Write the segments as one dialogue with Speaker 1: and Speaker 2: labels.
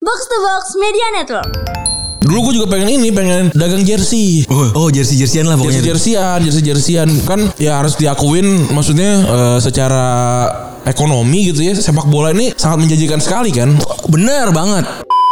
Speaker 1: Box to Box Media Network.
Speaker 2: Dulu gue juga pengen ini, pengen dagang jersey.
Speaker 3: Oh, jersey jersian lah pokoknya.
Speaker 2: Jersey jersian, jersey jersian kan ya harus diakuin maksudnya eh, secara ekonomi gitu ya sepak bola ini sangat menjanjikan sekali kan
Speaker 3: Bener banget.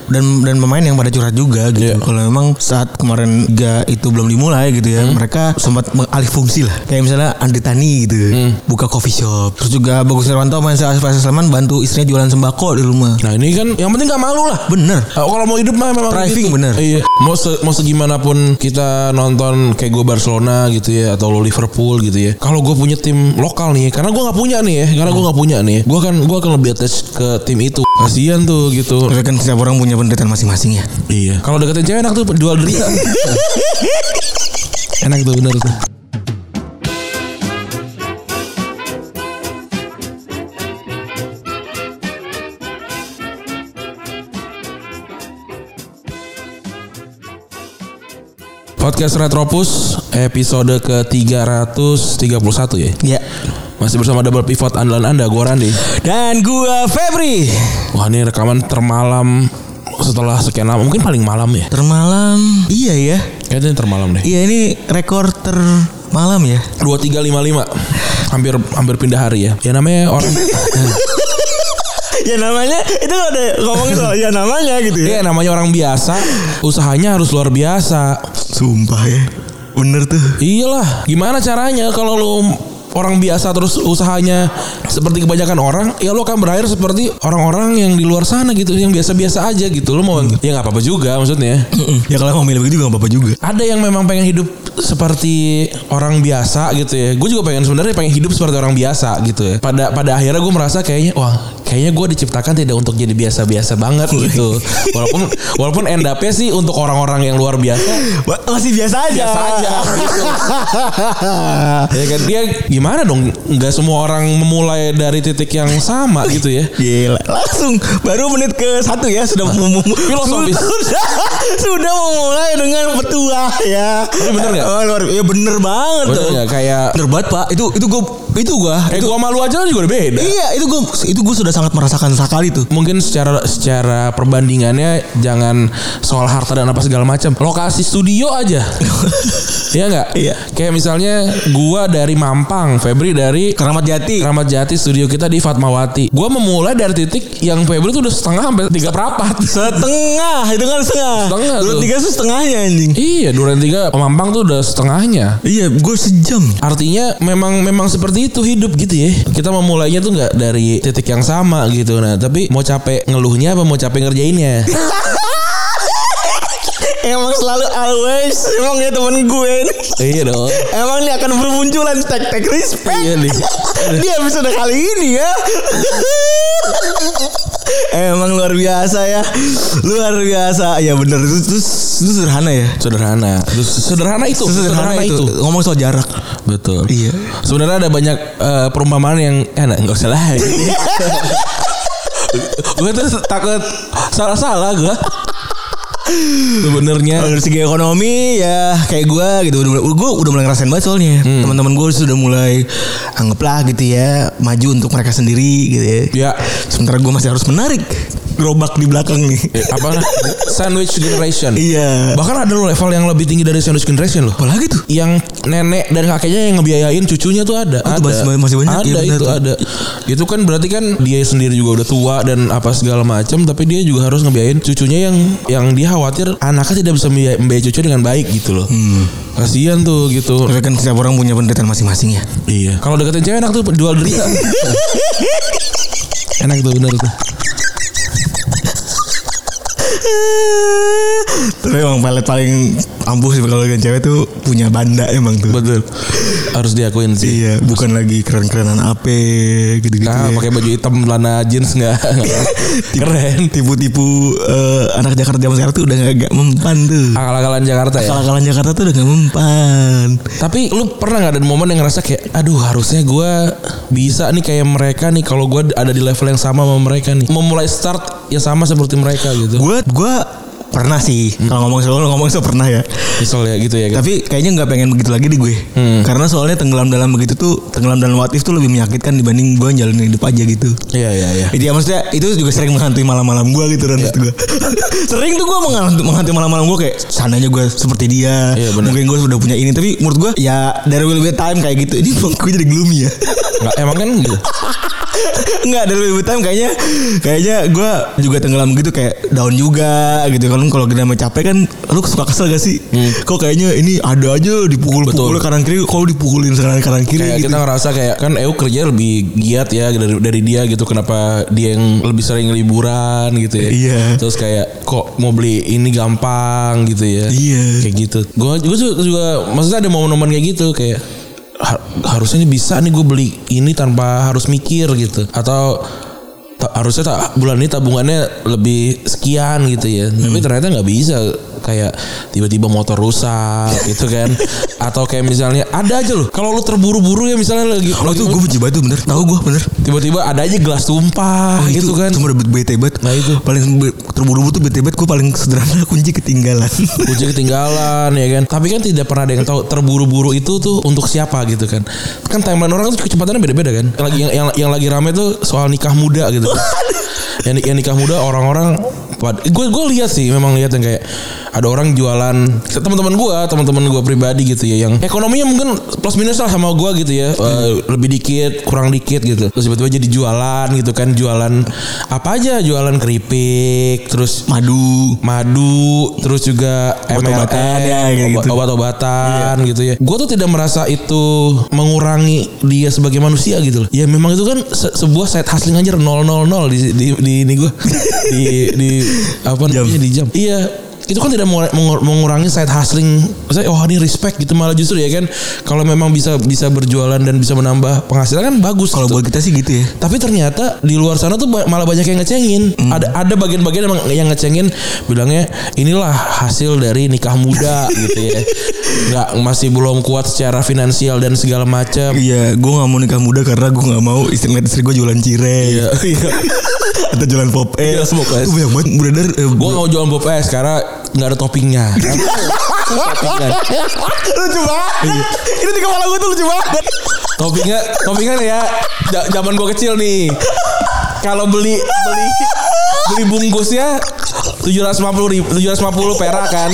Speaker 3: Dan dan pemain yang pada curhat juga gitu.
Speaker 2: Iya.
Speaker 3: Kalau memang saat kemarin liga itu belum dimulai gitu ya, mereka sempat mengalih fungsi lah. Kayak misalnya Andri Tani gitu, buka coffee shop. Terus juga Bagus Nirwanto main Asif Sleman bantu istrinya jualan sembako di rumah.
Speaker 2: nah ini kan yang penting gak malu lah
Speaker 3: Bener.
Speaker 2: Eh, kalau mau hidup mah memang
Speaker 3: Thriving,
Speaker 2: gitu.
Speaker 3: bener.
Speaker 2: Iya. Mau se- mau segimana pun kita nonton kayak gue Barcelona gitu ya atau lo Liverpool gitu ya. Kalau gue punya tim lokal nih, karena gue nggak punya nih ya, karena gue nggak punya nih. Gue kan gue akan lebih attach ke tim itu. Kasian tuh gitu.
Speaker 3: Tapi kan setiap orang punya penderitaan masing-masing ya.
Speaker 2: Iya. Kalau deketin cewek enak tuh jual derita. enak tuh bener tuh. Podcast Retropus episode ke-331 ya.
Speaker 3: Iya.
Speaker 2: Masih bersama double pivot andalan Anda, gue Randy.
Speaker 3: Dan gua Febri.
Speaker 2: Wah, ini rekaman termalam setelah sekian lama, mungkin paling malam ya.
Speaker 3: Termalam. Iya ya.
Speaker 2: Kayaknya termalam deh.
Speaker 3: Iya ini rekor termalam ya.
Speaker 2: dua tiga lima lima hampir hampir pindah hari ya ya namanya orang
Speaker 3: ya namanya itu ada ngomongin soal ya namanya gitu
Speaker 2: ya namanya orang biasa usahanya harus luar biasa
Speaker 3: Sumpah ya. Bener tuh.
Speaker 2: iyalah gimana caranya kalau lu orang biasa terus usahanya seperti kebanyakan orang ya lu akan berakhir seperti orang-orang yang di luar sana gitu yang biasa-biasa aja gitu lu mau ya nggak apa-apa juga maksudnya
Speaker 3: ya kalau mau milih begitu juga gak apa-apa juga.
Speaker 2: ada yang memang pengen hidup seperti orang biasa gitu ya. Gue juga pengen sebenarnya pengen hidup seperti orang biasa gitu ya. Pada pada akhirnya gue merasa kayaknya wah kayaknya gue diciptakan tidak untuk jadi biasa-biasa banget gitu. Walaupun walaupun end up-nya sih untuk orang-orang yang luar biasa
Speaker 3: Wah, Masih biasa aja.
Speaker 2: biasa aja. Gitu. ya kan dia gimana dong? Nggak semua orang memulai dari titik yang sama gitu ya.
Speaker 3: Gila, langsung baru menit ke satu ya sudah mem- mem-
Speaker 2: Filosofis.
Speaker 3: sudah, sudah memulai dengan petua ya.
Speaker 2: Ini bener nggak?
Speaker 3: Oh, luar- ya bener banget
Speaker 2: Bener
Speaker 3: tuh.
Speaker 2: nggak? Kayak-
Speaker 3: bener banget pak. Itu itu gue itu gue
Speaker 2: Eh gue malu aja juga udah beda.
Speaker 3: Iya itu gue itu gue sudah sangat merasakan sekali tuh.
Speaker 2: mungkin secara secara perbandingannya jangan soal harta dan apa segala macam lokasi studio aja Iya nggak
Speaker 3: Iya.
Speaker 2: kayak misalnya gua dari Mampang Febri dari
Speaker 3: Keramat Jati.
Speaker 2: Keramat Jati studio kita di Fatmawati gua memulai dari titik yang Febri tuh udah setengah sampai tiga perapat
Speaker 3: Setengah itu kan setengah.
Speaker 2: Setengah
Speaker 3: Dua
Speaker 2: tuh.
Speaker 3: tiga tuh setengahnya anjing.
Speaker 2: iya dua dan tiga Mampang tuh udah setengahnya
Speaker 3: Iya gue sejam.
Speaker 2: Artinya memang memang seperti itu hidup gitu ya. Kita memulainya tuh nggak dari titik yang sama gitu. Nah, tapi mau capek ngeluhnya apa mau capek ngerjainnya?
Speaker 3: Emang selalu always Emang ya temen gue ini
Speaker 2: iya dong.
Speaker 3: Emang nih akan bermunculan Tek-tek respect
Speaker 2: Iya nih.
Speaker 3: Di episode kali ini ya Emang luar biasa ya Luar biasa Ya bener Itu, itu, itu sederhana ya
Speaker 2: sederhana terus sederhana itu
Speaker 3: Sederhana, itu. Ngomong soal jarak
Speaker 2: betul
Speaker 3: Iya.
Speaker 2: sebenarnya ada banyak eh, perumpamaan yang enak nggak usah lah gue tuh takut salah salah gue sebenarnya
Speaker 3: Kalau Ya, dari segi ekonomi ya kayak gue gitu udah mulai, gue udah mulai ngerasain banget soalnya teman-teman gue sudah mulai anggaplah gitu ya maju untuk mereka sendiri gitu ya.
Speaker 2: ya
Speaker 3: Sementara gue masih harus menarik gerobak di belakang nih.
Speaker 2: ya, apa sandwich generation
Speaker 3: Iya.
Speaker 2: bahkan ada loh level yang lebih tinggi dari sandwich generation loh
Speaker 3: Apalagi tuh?
Speaker 2: yang nenek dan kakeknya yang ngebiayain cucunya tuh ada.
Speaker 3: Oh,
Speaker 2: ada.
Speaker 3: itu masih- masih banyak,
Speaker 2: Ada
Speaker 3: iya benar
Speaker 2: itu
Speaker 3: tuh.
Speaker 2: ada. Itu kan berarti kan dia sendiri juga udah tua dan apa segala macam tapi dia juga harus ngebiayain cucunya yang yang dia khawatir anaknya tidak bisa membiayai, membiayai cucu dengan baik gitu loh.
Speaker 3: Hmm.
Speaker 2: Kasihan tuh gitu.
Speaker 3: Tapi kan setiap orang punya penderitaan masing-masing ya.
Speaker 2: Iya. Kalau deketin cewek enak tuh jual derita. enak tuh bener tuh.
Speaker 3: Tapi emang palet paling ampuh sih kalau dengan cewek tuh punya banda emang tuh.
Speaker 2: Betul. Harus diakuin sih.
Speaker 3: Iya, bukan lagi keren-kerenan apa gitu-gitu.
Speaker 2: Nah,
Speaker 3: ya.
Speaker 2: pakai baju hitam celana jeans enggak. Keren.
Speaker 3: Tipu-tipu eh, anak Jakarta zaman sekarang tuh udah gak, gak mempan tuh.
Speaker 2: Akal-akalan Jakarta ya.
Speaker 3: Kalah-kalah Jakarta tuh udah gak mempan.
Speaker 2: Tapi lu pernah nggak ada momen yang ngerasa kayak aduh harusnya gua bisa nih kayak mereka nih kalau gua ada di level yang sama sama mereka nih. Memulai start yang sama seperti mereka gitu.
Speaker 3: Gue gue pernah sih
Speaker 2: Hmm.
Speaker 3: kalau ngomong soal ngomong soal pernah ya
Speaker 2: Misal ya gitu ya.
Speaker 3: tapi kayaknya nggak pengen begitu lagi di gue
Speaker 2: Hmm.
Speaker 3: karena soalnya tenggelam dalam begitu tuh tenggelam dalam what if tuh lebih menyakitkan dibanding gue jalanin hidup aja gitu
Speaker 2: Iya iya iya.
Speaker 3: Iya maksudnya itu juga sering menghantui malam-malam gue gitu dan gue sering tuh gue menghantui, menghantui malam-malam gue kayak seandainya gue seperti dia
Speaker 2: Iya, bener.
Speaker 3: mungkin gue sudah punya ini tapi menurut gue ya there will be a time kayak gitu ini gue jadi gloomy ya
Speaker 2: Nggak, emang kan gitu.
Speaker 3: Enggak there will be a time kayaknya kayaknya gue juga tenggelam gitu kayak down juga gitu kan kalau kita capek kan lu suka kesel gak sih
Speaker 2: Hmm.
Speaker 3: kok kayaknya ini ada aja dipukul-pukul kanan kiri kalau dipukulin kanan kanan kiri
Speaker 2: Kayak
Speaker 3: gitu
Speaker 2: kita ngerasa kayak kan EU kerja lebih giat ya dari dari dia gitu kenapa dia yang lebih sering liburan gitu ya.
Speaker 3: Iya.
Speaker 2: Terus kayak kok mau beli ini gampang gitu ya.
Speaker 3: Iya.
Speaker 2: Kayak gitu. Gua gua juga, juga maksudnya ada momen-momen kayak gitu kayak "Har- harusnya ini bisa nih gue beli ini tanpa harus mikir gitu atau ta- harusnya tak bulan ini tabungannya lebih sekian gitu ya
Speaker 3: Hmm.
Speaker 2: tapi ternyata nggak bisa kayak tiba-tiba motor rusak gitu kan atau kayak misalnya ada aja loh kalau lu terburu-buru ya misalnya lagi
Speaker 3: kalau Oh, itu gue benci banget tuh, bener tahu gue bener
Speaker 2: tiba-tiba ada aja gelas tumpah
Speaker 3: Oh,
Speaker 2: gitu
Speaker 3: itu,
Speaker 2: kan
Speaker 3: Itu udah bete banget.
Speaker 2: Nah, itu.
Speaker 3: paling be- terburu-buru tuh bete banget. Gue paling sederhana kunci ketinggalan.
Speaker 2: kunci ketinggalan ya kan tapi kan tidak pernah ada yang tahu terburu-buru itu tuh untuk siapa gitu kan kan timeline orang tuh kecepatannya beda-beda kan yang lagi yang, yang, yang lagi rame tuh soal nikah muda gitu yang, yang nikah muda orang-orang pad- gue gue lihat sih memang lihat yang kayak ada orang jualan teman-teman gue teman-teman gue pribadi gitu ya yang ekonominya mungkin plus minus lah sama gue gitu ya Eh, lebih dikit kurang dikit gitu terus tiba-tiba jadi jualan gitu kan jualan apa aja jualan keripik terus
Speaker 3: Madu.
Speaker 2: madu terus juga
Speaker 3: Obat-obatan ya, kayak
Speaker 2: MLM, obat-
Speaker 3: gitu.
Speaker 2: obat-obatan gitu ya gue tuh tidak merasa itu mengurangi dia sebagai manusia gitu loh ya memang itu kan se- sebuah side hustling aja 000 di di di ini gue di di apa
Speaker 3: Jam.
Speaker 2: namanya di jam iya itu kan tidak mengur- mengur- mengurangi side hustling saya oh ini respect gitu malah justru ya kan kalau memang bisa bisa berjualan dan bisa menambah penghasilan kan bagus
Speaker 3: Kalau
Speaker 2: gitu.
Speaker 3: buat kita sih gitu ya.
Speaker 2: Tapi ternyata di luar sana tuh ba- malah banyak yang ngecengin. Ada ada bagian-bagian emang yang ngecengin bilangnya inilah hasil dari nikah muda gitu ya. Nggak masih belum kuat secara finansial dan segala macam.
Speaker 3: Iya, gue gak mau nikah muda karena gue gak mau istri ngeliat istri gue jualan cireng.
Speaker 2: Iya.
Speaker 3: Atau jualan pop
Speaker 2: Iya,
Speaker 3: es.
Speaker 2: pop es.
Speaker 3: Itu banyak banget beredar. eh,
Speaker 2: Gue mau jualan bob es karena nggak ada toppingnya. toppingnya,
Speaker 3: lucu banget. Itu di kepala gue tuh lucu banget.
Speaker 2: toppingnya, toppingnya nih ya. ja- Zaman gue kecil nih. Kalau beli beli beli bungkusnya tujuh ratus lima puluh tujuh ratus lima puluh perak kan.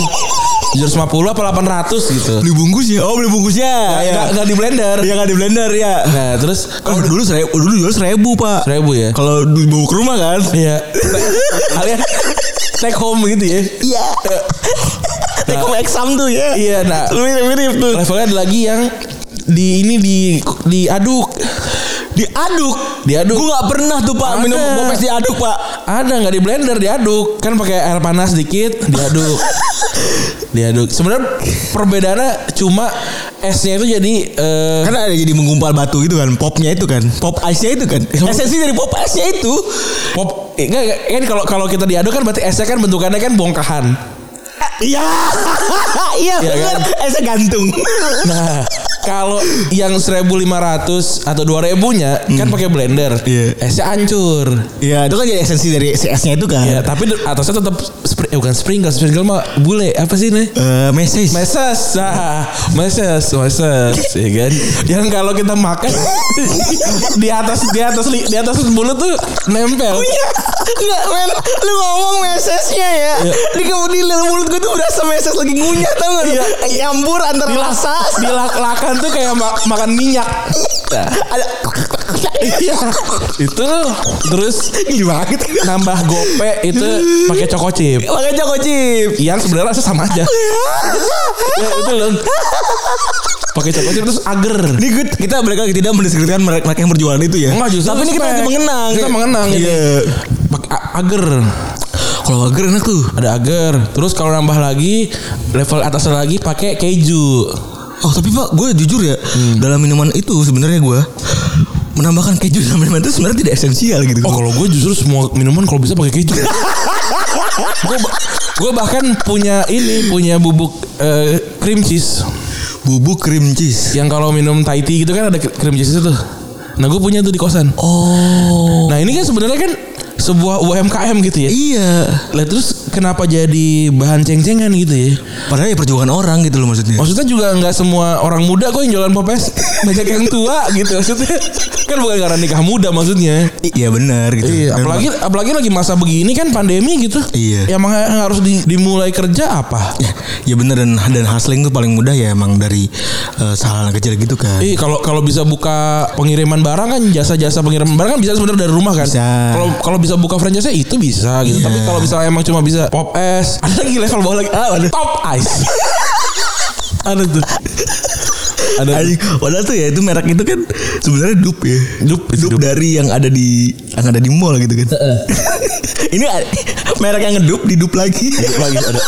Speaker 2: 750 apa 800 gitu.
Speaker 3: Beli bungkus ya? Oh beli bungkusnya. Iya.
Speaker 2: Nggak nggak di blender.
Speaker 3: Iya gak di blender ya.
Speaker 2: Nah terus
Speaker 3: Kalau Kan dulu seribu, dulu jual seribu pak.
Speaker 2: seribu ya.
Speaker 3: Kalau dibawa ke rumah kan?
Speaker 2: Iya. Kalian take home gitu ya.
Speaker 3: Iya. Take home exam tuh ya.
Speaker 2: Iya. Nah
Speaker 3: Mirip-mirip tuh.
Speaker 2: levelnya ada lagi yang di ini di diaduk.
Speaker 3: Diaduk.
Speaker 2: Diaduk.
Speaker 3: Gue gak pernah tuh
Speaker 2: Ada.
Speaker 3: pak minum popes diaduk pak.
Speaker 2: Ada nggak di blender diaduk kan pakai air panas dikit diaduk. diaduk. Sebenarnya perbedaannya cuma esnya itu jadi eh,
Speaker 3: Karena ada jadi menggumpal batu gitu kan. Popnya itu kan. Pop ice-nya itu kan. Esensi dari pop ice-nya itu.
Speaker 2: pop eh, nggak, nggak. kan kalau kalau kita diaduk kan berarti esnya kan bentukannya kan bongkahan.
Speaker 3: Iya. Iya
Speaker 2: Iya kan?
Speaker 3: bener. Ice-nya gantung.
Speaker 2: Nah, kalau yang 1500 atau 2000-nya kan pakai blender.
Speaker 3: Iya.
Speaker 2: Esnya hancur.
Speaker 3: Iya itu kan jadi esensi dari si esnya itu kan.
Speaker 2: Ya, tapi di- atasnya tetap spri- eh, bukan sprinkle, sprinkle mah bule. Apa sih nih?
Speaker 3: Eh, meses.
Speaker 2: Meses, ah, meses, meses, ya kan? Yang kalau kita makan di atas di atas li- di atas mulut tuh nempel.
Speaker 3: Enggak men Lu ngomong mesesnya ya
Speaker 2: Iya.
Speaker 3: Di kemudian dalam mulut gue tuh berasa meses lagi ngunyah tau gak
Speaker 2: Iya.
Speaker 3: Nyambur antara rasa
Speaker 2: Dilak-lakan tuh kayak ma- makan minyak. Nah,
Speaker 3: Ada
Speaker 2: iya. Itu terus
Speaker 3: Gila banget
Speaker 2: nambah gope itu pakai coko chip.
Speaker 3: Pakai Joko Chip Iya.
Speaker 2: yang sebenarnya rasanya sama aja. ya, itu loh. Pakai coklat chip terus agar.
Speaker 3: Ini good, kita balik lagi tidak mendeskripsikan mereka, mereka yang berjualan itu ya.
Speaker 2: Enggak justru
Speaker 3: Tapi ini kita
Speaker 2: respect.
Speaker 3: lagi mengenang.
Speaker 2: Kita mengenang, gitu.
Speaker 3: Iya.
Speaker 2: Pakai a- agar.
Speaker 3: Kalau agar enak tuh.
Speaker 2: Ada agar. Terus kalau nambah lagi level atas lagi pakai keju.
Speaker 3: Oh tapi pak, gue jujur ya dalam minuman itu sebenarnya gue menambahkan keju dalam minuman itu sebenarnya tidak esensial gitu.
Speaker 2: Oh kalau gue justru semua minuman kalau bisa pakai keju. gue ba- gue bahkan punya ini punya bubuk eh, cream cheese
Speaker 3: bubuk cream cheese.
Speaker 2: yang kalau minum Thai tea gitu kan ada cream cheese itu tuh. Nah gue punya tuh di kosan.
Speaker 3: Oh.
Speaker 2: Nah ini kan sebenarnya kan sebuah UMKM gitu ya.
Speaker 3: Iya.
Speaker 2: Lah terus kenapa jadi bahan ceng-cengan gitu ya?
Speaker 3: Padahal ya perjuangan orang gitu loh maksudnya.
Speaker 2: Maksudnya juga nggak semua orang muda kok yang jualan popes banyak yang tua gitu maksudnya kan bukan karena nikah muda maksudnya
Speaker 3: Iya benar gitu.
Speaker 2: Iya,
Speaker 3: Memang.
Speaker 2: apalagi apalagi lagi masa begini kan pandemi gitu.
Speaker 3: Iya.
Speaker 2: Yang mah- yang harus di- dimulai kerja apa?
Speaker 3: Ya, ya bener dan dan hustling tuh paling mudah ya emang dari eh, hal kecil gitu kan.
Speaker 2: Ih, Iya, kalau kalau bisa buka pengiriman barang kan jasa-jasa pengiriman barang kan bisa sebenarnya dari rumah kan.
Speaker 3: Bisa.
Speaker 2: Kalau kalau bisa buka franchise itu bisa gitu.
Speaker 3: Iya.
Speaker 2: Tapi kalau misalnya emang cuma bisa pop es, ada lagi level bawah lagi. Ah, ada top ice. ada tuh. Ada
Speaker 3: Anjing, Padahal tuh ya itu merek itu kan sebenarnya dup ya.
Speaker 2: Dup, itu dup.
Speaker 3: dari yang ada di yang ada di mall gitu kan. Ini a- merek yang ngedup didup lagi.
Speaker 2: lagi ada.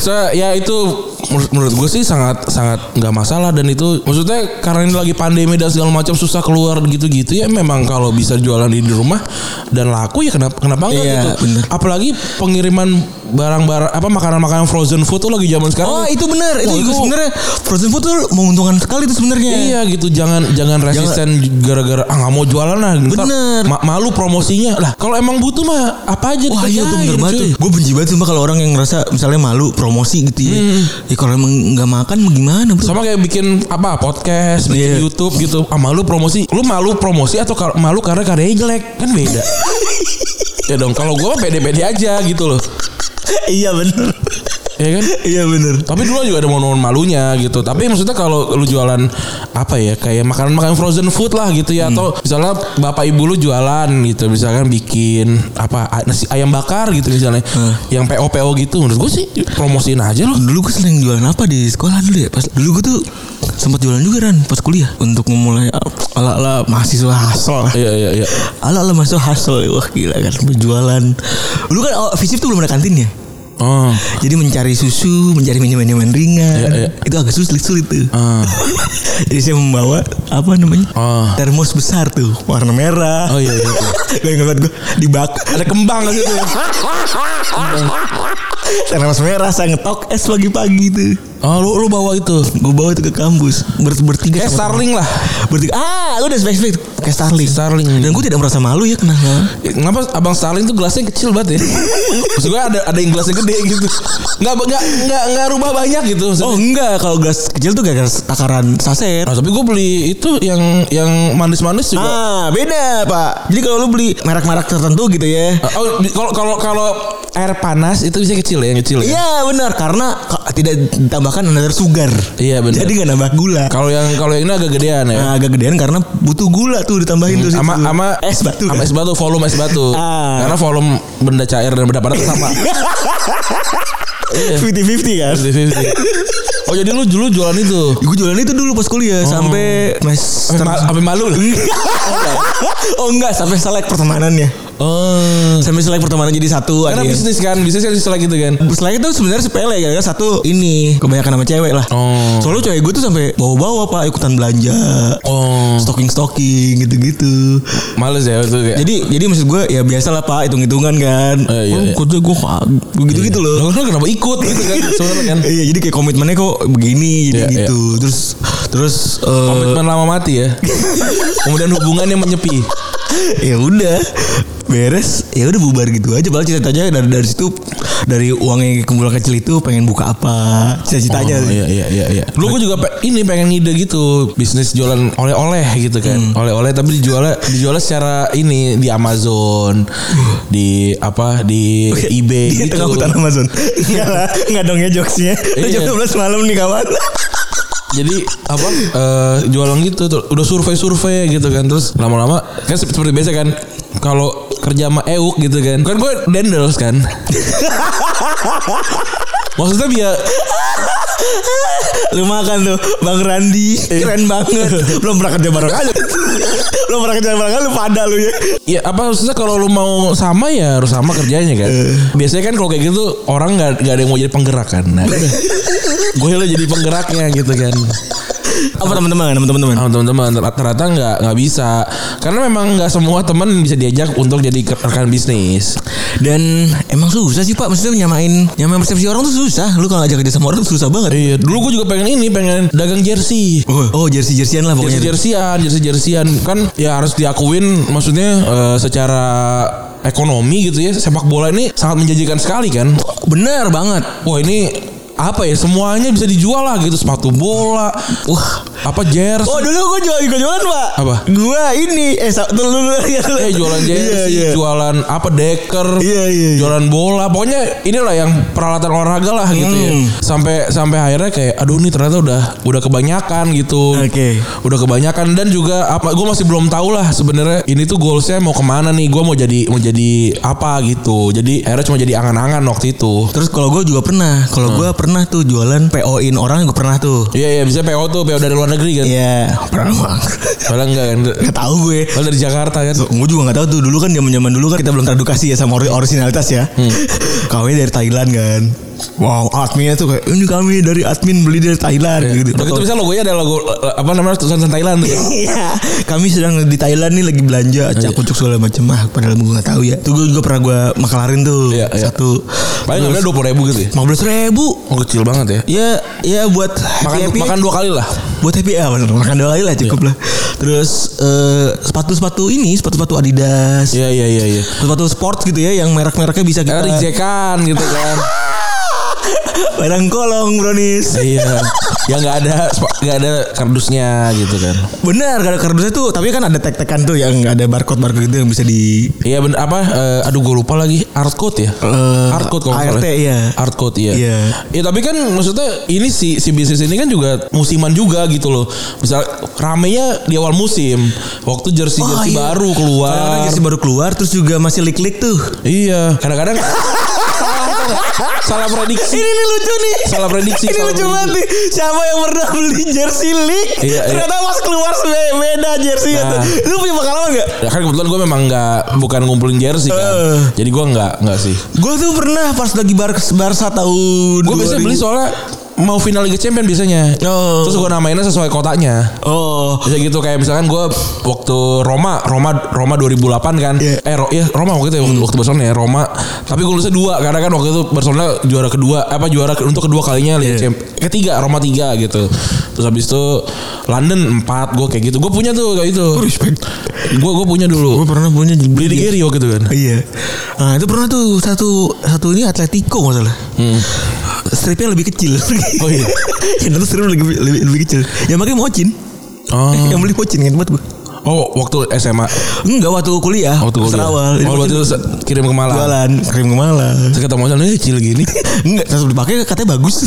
Speaker 2: So, ya itu menur- menurut gue sih sangat sangat nggak masalah dan itu maksudnya karena ini lagi pandemi dan segala macam susah keluar gitu-gitu ya memang kalau bisa jualan di di rumah dan laku ya kenapa kenapa enggak
Speaker 3: Iya,
Speaker 2: gitu.
Speaker 3: bener.
Speaker 2: Apalagi pengiriman barang-barang apa makanan-makanan frozen food tuh lagi zaman sekarang.
Speaker 3: Oh itu benar itu
Speaker 2: Wah,
Speaker 3: juga sebenarnya frozen food tuh menguntungkan sekali itu sebenarnya.
Speaker 2: Iya gitu jangan jangan resisten gara-gara ah nggak mau jualan lah. Ntar
Speaker 3: Bener.
Speaker 2: ma- malu promosinya. Lah kalau emang butuh mah apa aja
Speaker 3: Wah iya tuh bener
Speaker 2: dikerjain,
Speaker 3: banget
Speaker 2: cuy.
Speaker 3: tuh. Gue benci banget sumpah kalau orang yang ngerasa misalnya malu promosi gitu ya. Ya kalau emang nggak makan mau gimana bro?
Speaker 2: sama kayak bikin apa podcast bikin
Speaker 3: Iya.
Speaker 2: YouTube gitu ah malu promosi lu malu promosi atau kar- malu karena karyanya jelek kan beda ya dong kalau gua mah pede-pede aja gitu loh
Speaker 3: iya bener.
Speaker 2: ya kan
Speaker 3: iya bener.
Speaker 2: tapi dulu juga ada momen malunya gitu tapi maksudnya kalau lu jualan apa ya kayak makanan makanan frozen food lah gitu ya atau misalnya bapak ibu lu jualan gitu misalkan bikin apa a- nasi ayam bakar gitu misalnya yang PO PO gitu menurut gua sih promosiin aja loh
Speaker 3: Dulu gue sering jualan apa di sekolah dulu ya? Pas dulu gue tuh sempat jualan juga kan pas kuliah untuk memulai ala ala mahasiswa hasil.
Speaker 2: iya iya iya
Speaker 3: Ala ala mahasiswa hasil wah gila kan berjualan. Dulu kan oh, visip tuh belum ada kantin ya.
Speaker 2: oh
Speaker 3: Jadi mencari susu, mencari minuman-minuman ringan,
Speaker 2: Iya, iya.
Speaker 3: itu agak sulit sulit tuh.
Speaker 2: Ah.
Speaker 3: Jadi saya membawa apa namanya
Speaker 2: Ah.
Speaker 3: termos besar tuh warna merah.
Speaker 2: oh iya iya
Speaker 3: gue ingat gue dibakar
Speaker 2: ada kembang gitu
Speaker 3: termos merah saya ngetok es pagi-pagi tuh.
Speaker 2: Oh lu lu bawa itu.
Speaker 3: Gue bawa itu ke kampus ber bertiga.
Speaker 2: Kayak
Speaker 3: sama teman.
Speaker 2: Starling lah.
Speaker 3: Bertiga ah lu udah spesifik kayak Starling.
Speaker 2: Starling.
Speaker 3: Dan gue tidak merasa malu ya kenapa?
Speaker 2: Kenapa abang Starling tuh gelasnya kecil banget ya? Maksud gue ada ada yang gelasnya gede gitu. Nggak nggak nggak nggak rubah banyak gitu.
Speaker 3: Oh
Speaker 2: Maksudnya.
Speaker 3: enggak kalau gas kecil tuh gara-gara takaran saset.
Speaker 2: Nah, tapi gue beli itu yang yang manis-manis juga.
Speaker 3: Ah beda pak. Jadi kalau lu beli merek-merek tertentu gitu ya.
Speaker 2: Oh di- kalau kalau kalau air panas itu bisa kecil ya yang kecil ya.
Speaker 3: Iya benar karena ka- tidak ditambahkan another sugar.
Speaker 2: Iya, benar.
Speaker 3: Jadi nggak nambah gula.
Speaker 2: Kalau yang kalau yang ini agak gedean ya.
Speaker 3: Nah, agak gedean karena butuh gula tuh ditambahin tuh.
Speaker 2: Sama
Speaker 3: situ.
Speaker 2: sama
Speaker 3: es batu.
Speaker 2: Sama
Speaker 3: kan?
Speaker 2: es batu, volume es batu.
Speaker 3: Ah.
Speaker 2: Karena volume benda cair dan benda padat itu sama.
Speaker 3: 50-50 kan.
Speaker 2: 50-50. Oh jadi lu dulu jualan itu.
Speaker 3: Gue jualan itu dulu pas kuliah
Speaker 2: Oh.
Speaker 3: sampai
Speaker 2: Sampai
Speaker 3: semester
Speaker 2: ma- sampai malu lah.
Speaker 3: oh enggak sampai selek pertemanannya.
Speaker 2: Oh.
Speaker 3: Sampai selek pertemanan jadi satu ada
Speaker 2: Karena
Speaker 3: yang-
Speaker 2: bisnis kan, bisnis kan setelah gitu kan.
Speaker 3: Selain itu sebenarnya sepele ya karena satu ini kebanyakan sama cewek lah.
Speaker 2: Oh.
Speaker 3: Soalnya cewek gue tuh sampai bawa-bawa pak ikutan belanja,
Speaker 2: Oh,
Speaker 3: stocking-stocking gitu-gitu.
Speaker 2: males ya itu kayak.
Speaker 3: Jadi jadi maksud gue ya biasa lah pak hitung-hitungan kan.
Speaker 2: Eh, iya,
Speaker 3: Oh,
Speaker 2: iya.
Speaker 3: Kerja gue gitu-gitu
Speaker 2: Loh,
Speaker 3: loh.
Speaker 2: lu kenapa ikut gitu kan sebenarnya kan.
Speaker 3: Iya jadi kayak komitmennya kok begini
Speaker 2: Iya,
Speaker 3: jadi
Speaker 2: iya.
Speaker 3: gitu. Terus terus eh,
Speaker 2: Komitmen lama mati ya. Kemudian hubungan yang menyepi.
Speaker 3: ya udah beres ya udah bubar gitu aja padahal cita-citanya dari dari situ dari uang yang kumpulan kecil itu pengen buka apa cita-citanya
Speaker 2: Oh, iya iya iya iya. Lu gua juga pe- ini pengen ngide gitu, bisnis jualan oleh-oleh gitu
Speaker 3: Hmm.
Speaker 2: kan. Oleh-oleh tapi dijualnya dijualnya secara ini di Amazon, di apa di eBay
Speaker 3: Di
Speaker 2: gitu.
Speaker 3: tengah hutan Amazon Enggak lah Enggak dong ya jokesnya Itu
Speaker 2: Iya.
Speaker 3: jam 12 malam nih kawan
Speaker 2: jadi apa eh, jualan gitu tuh, udah survei-survei gitu kan terus lama-lama kan sep- seperti biasa kan kalau kerja sama Euk gitu kan kan gue dendels kan maksudnya biar
Speaker 3: Lu makan tuh Bang Randi Keren banget Belum pernah kerja bareng aja Belum pernah kerja bareng aja Lu pada lu ya
Speaker 2: ya apa maksudnya kalau lu mau sama ya harus sama kerjanya kan biasanya kan kalau kayak gitu orang nggak nggak ada yang mau jadi penggerak kan nah, gue lo jadi penggeraknya gitu kan
Speaker 3: Apa teman-teman? Teman-teman.
Speaker 2: sama teman-teman ternyata nggak nggak bisa karena memang nggak semua teman bisa diajak untuk jadi ke- rekan bisnis
Speaker 3: Dan emang susah sih Pak, maksudnya nyamain nyamain persepsi orang tuh susah. Lu kalau ngajak kerja sama orang tuh susah banget.
Speaker 2: iya dulu gue juga pengen ini pengen dagang jersey
Speaker 3: Oh, oh jersey-jerseyan lah
Speaker 2: jersey
Speaker 3: pokoknya.
Speaker 2: jersian jersey jersian kan ya harus diakuin maksudnya eh, secara ekonomi gitu ya sepak bola ini sangat menjanjikan sekali kan
Speaker 3: Bener banget.
Speaker 2: wah ini apa ya semuanya bisa dijual lah gitu sepatu bola
Speaker 3: Wah.
Speaker 2: apa jersey
Speaker 3: Oh dulu gue jual, gua jualan Pak.
Speaker 2: Apa?
Speaker 3: Gue ini eh sa- dulu dulu ya. dulu.
Speaker 2: eh jualan
Speaker 3: Iya,
Speaker 2: jersey
Speaker 3: iya.
Speaker 2: jualan apa deker
Speaker 3: Iya, iya, iya.
Speaker 2: jualan bola pokoknya inilah yang peralatan olahraga lah gitu ya
Speaker 3: Hmm.
Speaker 2: sampai sampai akhirnya kayak aduh ini ternyata udah udah kebanyakan gitu
Speaker 3: Oke.
Speaker 2: udah kebanyakan dan juga apa gue masih belum tahu lah sebenarnya ini tuh goalsnya mau kemana nih gue mau jadi mau jadi apa gitu jadi akhirnya cuma jadi angan-angan waktu itu
Speaker 3: Terus kalau gue juga pernah, kalau gue pernah tuh jualan PO-in orang gue pernah tuh.
Speaker 2: iya iya bisa PO tuh PO dari luar negeri kan
Speaker 3: Iya, pernah Bang.
Speaker 2: padahal enggak kan
Speaker 3: Gak tahu gue.
Speaker 2: padahal dari Jakarta kan
Speaker 3: Gue juga gak tahu tuh dulu kan zaman zaman dulu kan kita belum teredukasi ya sama ori- orisinalitas ya. Kami dari Thailand kan. Wow, adminnya tuh kayak ini kami dari admin beli dari Thailand gitu.
Speaker 2: Waktu itu
Speaker 3: Atau-
Speaker 2: bisa logonya ada logo eh, apa namanya tulisan Thailand tuh.
Speaker 3: Iya, kami sedang di Thailand nih lagi belanja
Speaker 2: Oh, iya.
Speaker 3: acak kucuk segala macam ah padahal gue gak tahu ya. Tuh gue juga pernah gue makelarin tuh
Speaker 2: Iya, iya.
Speaker 3: satu
Speaker 2: Paling nggak dua puluh ribu gitu. ya.
Speaker 3: 15 ribu.
Speaker 2: Oh, kecil banget ya.
Speaker 3: Ya, ya buat
Speaker 2: Makan
Speaker 3: happy-happy
Speaker 2: makan Iya. dua kali lah.
Speaker 3: buat happy hour makan dua kali lah cukup lah terus eh, sepatu-sepatu ini sepatu-sepatu Adidas
Speaker 2: Iya Eh, iya iya iya.
Speaker 3: sepatu sport gitu ya yang merek-mereknya bisa kita
Speaker 2: Karena dijekan gitu kan.
Speaker 3: barang kolong Bronis
Speaker 2: Iya. Yang nggak ada spa- nggak ada kardusnya gitu kan.
Speaker 3: benar ada kardusnya tuh tapi kan ada tek-tekan tuh yang ada barcode barcode gitu yang bisa di
Speaker 2: Iya bener apa? eh, aduh gue lupa lagi. Art code ya.
Speaker 3: Eh,
Speaker 2: art code kalau nggak
Speaker 3: ART,
Speaker 2: salah.
Speaker 3: iya.
Speaker 2: Art code iya.
Speaker 3: Iya.
Speaker 2: Ya tapi kan maksudnya ini si si bisnis ini kan juga musiman juga gitu loh. Misal ramenya di awal musim. Waktu jersey
Speaker 3: Oh,
Speaker 2: jersey
Speaker 3: iya.
Speaker 2: baru keluar.
Speaker 3: Kadang-kadang jersey baru keluar terus juga masih klik-klik tuh
Speaker 2: Iya. Kadang-kadang salah, tau nggak? salah prediksi.
Speaker 3: ini nih lucu nih
Speaker 2: Salah prediksi,
Speaker 3: ini
Speaker 2: salah
Speaker 3: lucu
Speaker 2: prediksi.
Speaker 3: banget nih siapa yang pernah beli jersey leak
Speaker 2: Iya, iya.
Speaker 3: ternyata pas keluar sebe- beda jersey itu
Speaker 2: Nah.
Speaker 3: lu punya pengalaman gak
Speaker 2: Ya kan kebetulan gue memang nggak bukan ngumpulin jersey kan.
Speaker 3: Eh.
Speaker 2: Jadi gue nggak nggak sih.
Speaker 3: Gue tuh pernah pas lagi bar Barca tahun
Speaker 2: Gue biasanya
Speaker 3: 2000.
Speaker 2: beli soalnya mau final Liga Champion biasanya.
Speaker 3: Oh.
Speaker 2: Terus gue namainnya sesuai kotanya.
Speaker 3: Oh.
Speaker 2: Bisa gitu kayak misalkan gue waktu Roma, Roma, Roma 2008 kan.
Speaker 3: Iya. Hmm.
Speaker 2: Eh, Ro- iya, Roma waktu itu ya, waktu, waktu Barcelona ya, Roma. Tapi gue lulusnya dua karena kan waktu itu Barcelona juara kedua, apa juara ke- untuk kedua kalinya Liga
Speaker 3: Iya.
Speaker 2: Champion. Ketiga, Roma tiga gitu. Terus habis itu London empat, gue kayak gitu. Gue punya tuh kayak itu.
Speaker 3: Respect.
Speaker 2: Gue gue punya dulu.
Speaker 3: Gue pernah punya
Speaker 2: Beli di Gary waktu itu kan.
Speaker 3: Iya. Nah itu pernah tuh satu satu ini Atletico nggak salah. Stripnya lebih kecil.
Speaker 2: Oh, iya.
Speaker 3: Yang satu strip lebih, lebih, lebih kecil. Yang pakai mocin.
Speaker 2: Oh.
Speaker 3: Yang beli mocin kan buat gue.
Speaker 2: Oh, waktu SMA.
Speaker 3: Enggak waktu kuliah.
Speaker 2: Waktu kuliah.
Speaker 3: Serawal. Ini
Speaker 2: Oh,
Speaker 3: mocin
Speaker 2: waktu itu se- kirim ke Malang.
Speaker 3: Jualan kirim ke Malang.
Speaker 2: Saya ketemu sama ini kecil gini.
Speaker 3: Enggak, terus dipakai katanya bagus.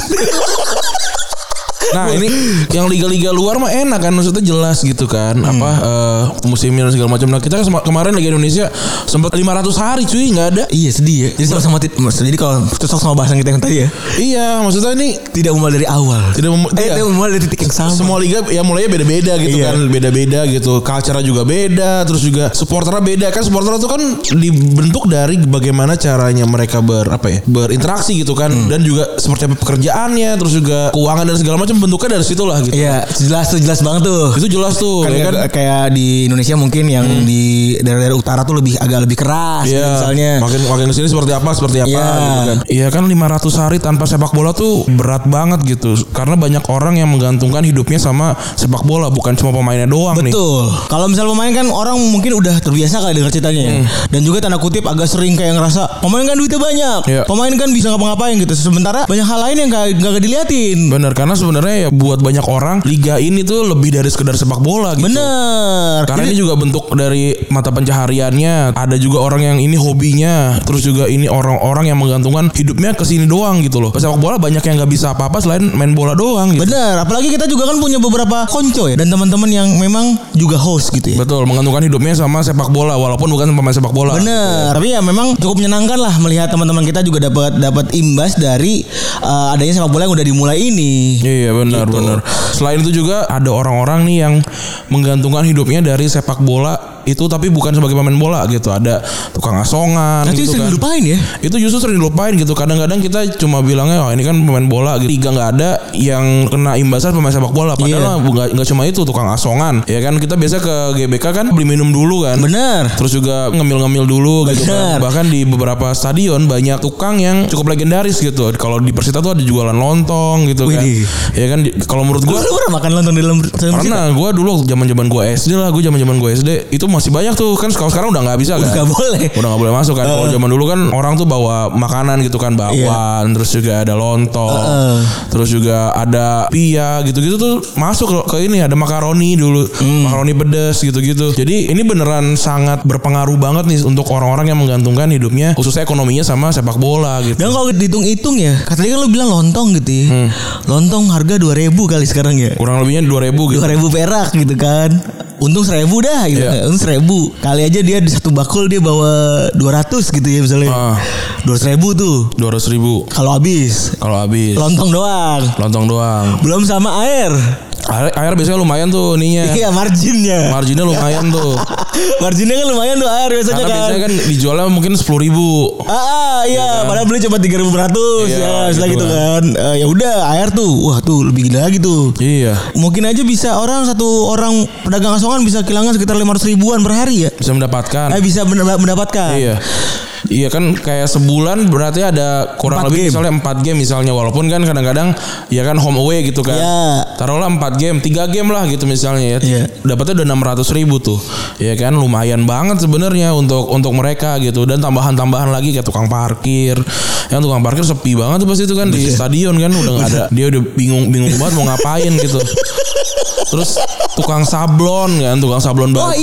Speaker 2: Nah ini yang liga-liga luar mah enak kan maksudnya jelas gitu kan
Speaker 3: Hmm.
Speaker 2: apa eh, musimnya dan segala macam. Nah kita kan sema- kemarin Liga Indonesia sempat 500 hari cuy nggak ada.
Speaker 3: iya sedih ya. Jadi sama sama jadi kalau cocok sama bahasan kita yang tadi ya.
Speaker 2: Iya maksudnya ini
Speaker 3: Tidak memulai dari awal.
Speaker 2: tidak mem-
Speaker 3: Eh,
Speaker 2: iya.
Speaker 3: itu mulai dari titik yang sama.
Speaker 2: semua liga ya mulainya beda-beda gitu
Speaker 3: Iya.
Speaker 2: kan beda-beda gitu culture juga beda terus juga supporternya beda kan supporter itu kan dibentuk dari bagaimana caranya mereka ber apa ya berinteraksi gitu kan dan juga seperti apa pekerjaannya terus juga keuangan dan segala macam bentuknya dari situ lah gitu
Speaker 3: Iya, jelas tuh jelas banget tuh.
Speaker 2: itu jelas tuh
Speaker 3: Kan
Speaker 2: ya kan Hmm.
Speaker 3: kayak, kayak di Indonesia mungkin yang di daerah-daerah utara tuh lebih agak lebih keras
Speaker 2: Iya,
Speaker 3: gitu misalnya.
Speaker 2: makin makin kesini seperti apa seperti apa
Speaker 3: Iya.
Speaker 2: gitu kan. Iya kan 500 hari tanpa sepak bola tuh berat banget gitu karena banyak orang yang menggantungkan hidupnya sama sepak bola bukan cuma pemainnya doang nih.
Speaker 3: Betul. Kalau misal pemain kan orang mungkin udah terbiasa kali dengar ceritanya
Speaker 2: Hmm.
Speaker 3: ya. Dan juga tanda kutip agak sering kayak ngerasa pemain kan duitnya banyak.
Speaker 2: Iya.
Speaker 3: Pemain kan bisa ngapa-ngapain gitu. Sementara banyak hal lain yang gak, gak diliatin.
Speaker 2: Bener karena sebenarnya ya buat banyak orang liga ini tuh lebih dari sekedar sepak bola gitu.
Speaker 3: Bener.
Speaker 2: Karena ini
Speaker 3: Jadi-
Speaker 2: juga bentuk dari mata pencahariannya. Ada juga orang yang ini hobinya, terus juga ini orang-orang yang menggantungkan hidupnya ke sini doang gitu loh. Sepak bola banyak yang nggak bisa apa-apa selain main bola doang gitu.
Speaker 3: Bener, apalagi kita juga kan punya beberapa konco ya dan teman-teman yang memang juga host gitu ya.
Speaker 2: Betul, menggantungkan hidupnya sama sepak bola walaupun bukan pemain sepak bola.
Speaker 3: Bener, tapi ya memang cukup menyenangkan lah melihat teman-teman kita juga dapat dapat imbas dari eh, adanya sepak bola yang udah dimulai ini.
Speaker 2: Iya benar
Speaker 3: Gitu.
Speaker 2: benar. Selain itu juga ada orang-orang nih yang menggantungkan hidupnya dari sepak bola itu tapi bukan sebagai pemain bola gitu ada tukang asongan
Speaker 3: Nanti
Speaker 2: gitu kan.
Speaker 3: sering dilupain ya.
Speaker 2: itu justru sering dilupain gitu kadang-kadang kita cuma bilangnya oh ini kan pemain bola gitu liga nggak ada yang kena imbasan pemain sepak bola
Speaker 3: Iya.
Speaker 2: padahal mah nggak nggak cuma itu tukang asongan ya kan kita biasa ke GBK kan beli minum dulu kan
Speaker 3: Bener.
Speaker 2: Terus juga ngemil-ngemil dulu gitu kan.
Speaker 3: Benar.
Speaker 2: Bahkan di beberapa stadion banyak tukang yang cukup legendaris gitu. Kalau di Persita tuh ada jualan lontong gitu kan.
Speaker 3: Widih.
Speaker 2: Ya kan di- kalau menurut
Speaker 3: Gue
Speaker 2: gua
Speaker 3: pernah makan lontong di dalam dalam
Speaker 2: pernah gua dulu zaman-zaman gua SD lah, gua zaman-zaman gua SD itu masih banyak tuh kan kalau sekarang udah nggak bisa
Speaker 3: masjid?
Speaker 2: kan.
Speaker 3: Gak boleh.
Speaker 2: Udah nggak boleh masuk kan. Kalau zaman dulu kan orang tuh bawa makanan gitu kan, bakwan, terus juga ada lontong,
Speaker 3: Heeh.
Speaker 2: terus juga ada pia gitu-gitu tuh masuk ke- ke ini ada makaroni dulu, makaroni pedas gitu-gitu. Jadi ini beneran sangat berpengaruh banget nih untuk orang-orang yang menggantungkan hidupnya khususnya ekonominya sama sepak bola gitu.
Speaker 3: Dan kalau dihitung-hitung ya, katanya kan lu bilang lontong gitu ya.
Speaker 2: Hmm.
Speaker 3: Lontong harga 2000 kali sekarang ya.
Speaker 2: Kurang lebihnya 2000 gitu.
Speaker 3: 2000 perak gitu kan. Untung 1000 dah gitu.
Speaker 2: Iya.
Speaker 3: Untung 1000. Kali aja dia di satu bakul dia bawa 200 gitu ya misalnya.
Speaker 2: Ah.
Speaker 3: 200 ribu tuh.
Speaker 2: 200 ribu
Speaker 3: Kalau habis
Speaker 2: kalau habis.
Speaker 3: lontong doang.
Speaker 2: Lontong doang.
Speaker 3: Belum sama air.
Speaker 2: Air, air biasanya lumayan tuh ininya.
Speaker 3: Iya marginnya.
Speaker 2: Marginnya lumayan tuh.
Speaker 3: marginnya kan lumayan tuh air biasanya
Speaker 2: Karena
Speaker 3: kan.
Speaker 2: biasanya kan dijualnya mungkin 10.000 ribu.
Speaker 3: Ah, ah, iya, padahal beli cuma 3100
Speaker 2: Iya,
Speaker 3: ya, misalnya
Speaker 2: gitu
Speaker 3: gitu kan. Eh, ya udah air tuh. Wah, tuh lebih gila lagi tuh.
Speaker 2: Iya.
Speaker 3: Mungkin aja bisa orang satu orang pedagang asongan bisa kehilangan sekitar 500 ribuan per hari ya.
Speaker 2: Bisa mendapatkan.
Speaker 3: Eh bisa bener- mendapatkan.
Speaker 2: Iya. Iya kan kayak sebulan berarti ada kurang
Speaker 3: Empat
Speaker 2: lebih
Speaker 3: game.
Speaker 2: misalnya 4 game misalnya walaupun kan kadang-kadang ya kan home away gitu kan.
Speaker 3: Iya.
Speaker 2: Taruhlah 4 game, 3 game lah gitu misalnya ya.
Speaker 3: Iya.
Speaker 2: Dapatnya udah 600 ribu tuh. Ya kan lumayan banget sebenarnya untuk untuk mereka gitu dan tambahan-tambahan lagi kayak tukang parkir. Yang tukang parkir sepi banget tuh pasti itu kan
Speaker 3: Iya.
Speaker 2: di stadion kan udah nggak ada. Dia udah bingung-bingung banget mau ngapain gitu. Terus tukang sablon kan, tukang sablon
Speaker 3: Oh,
Speaker 2: batu.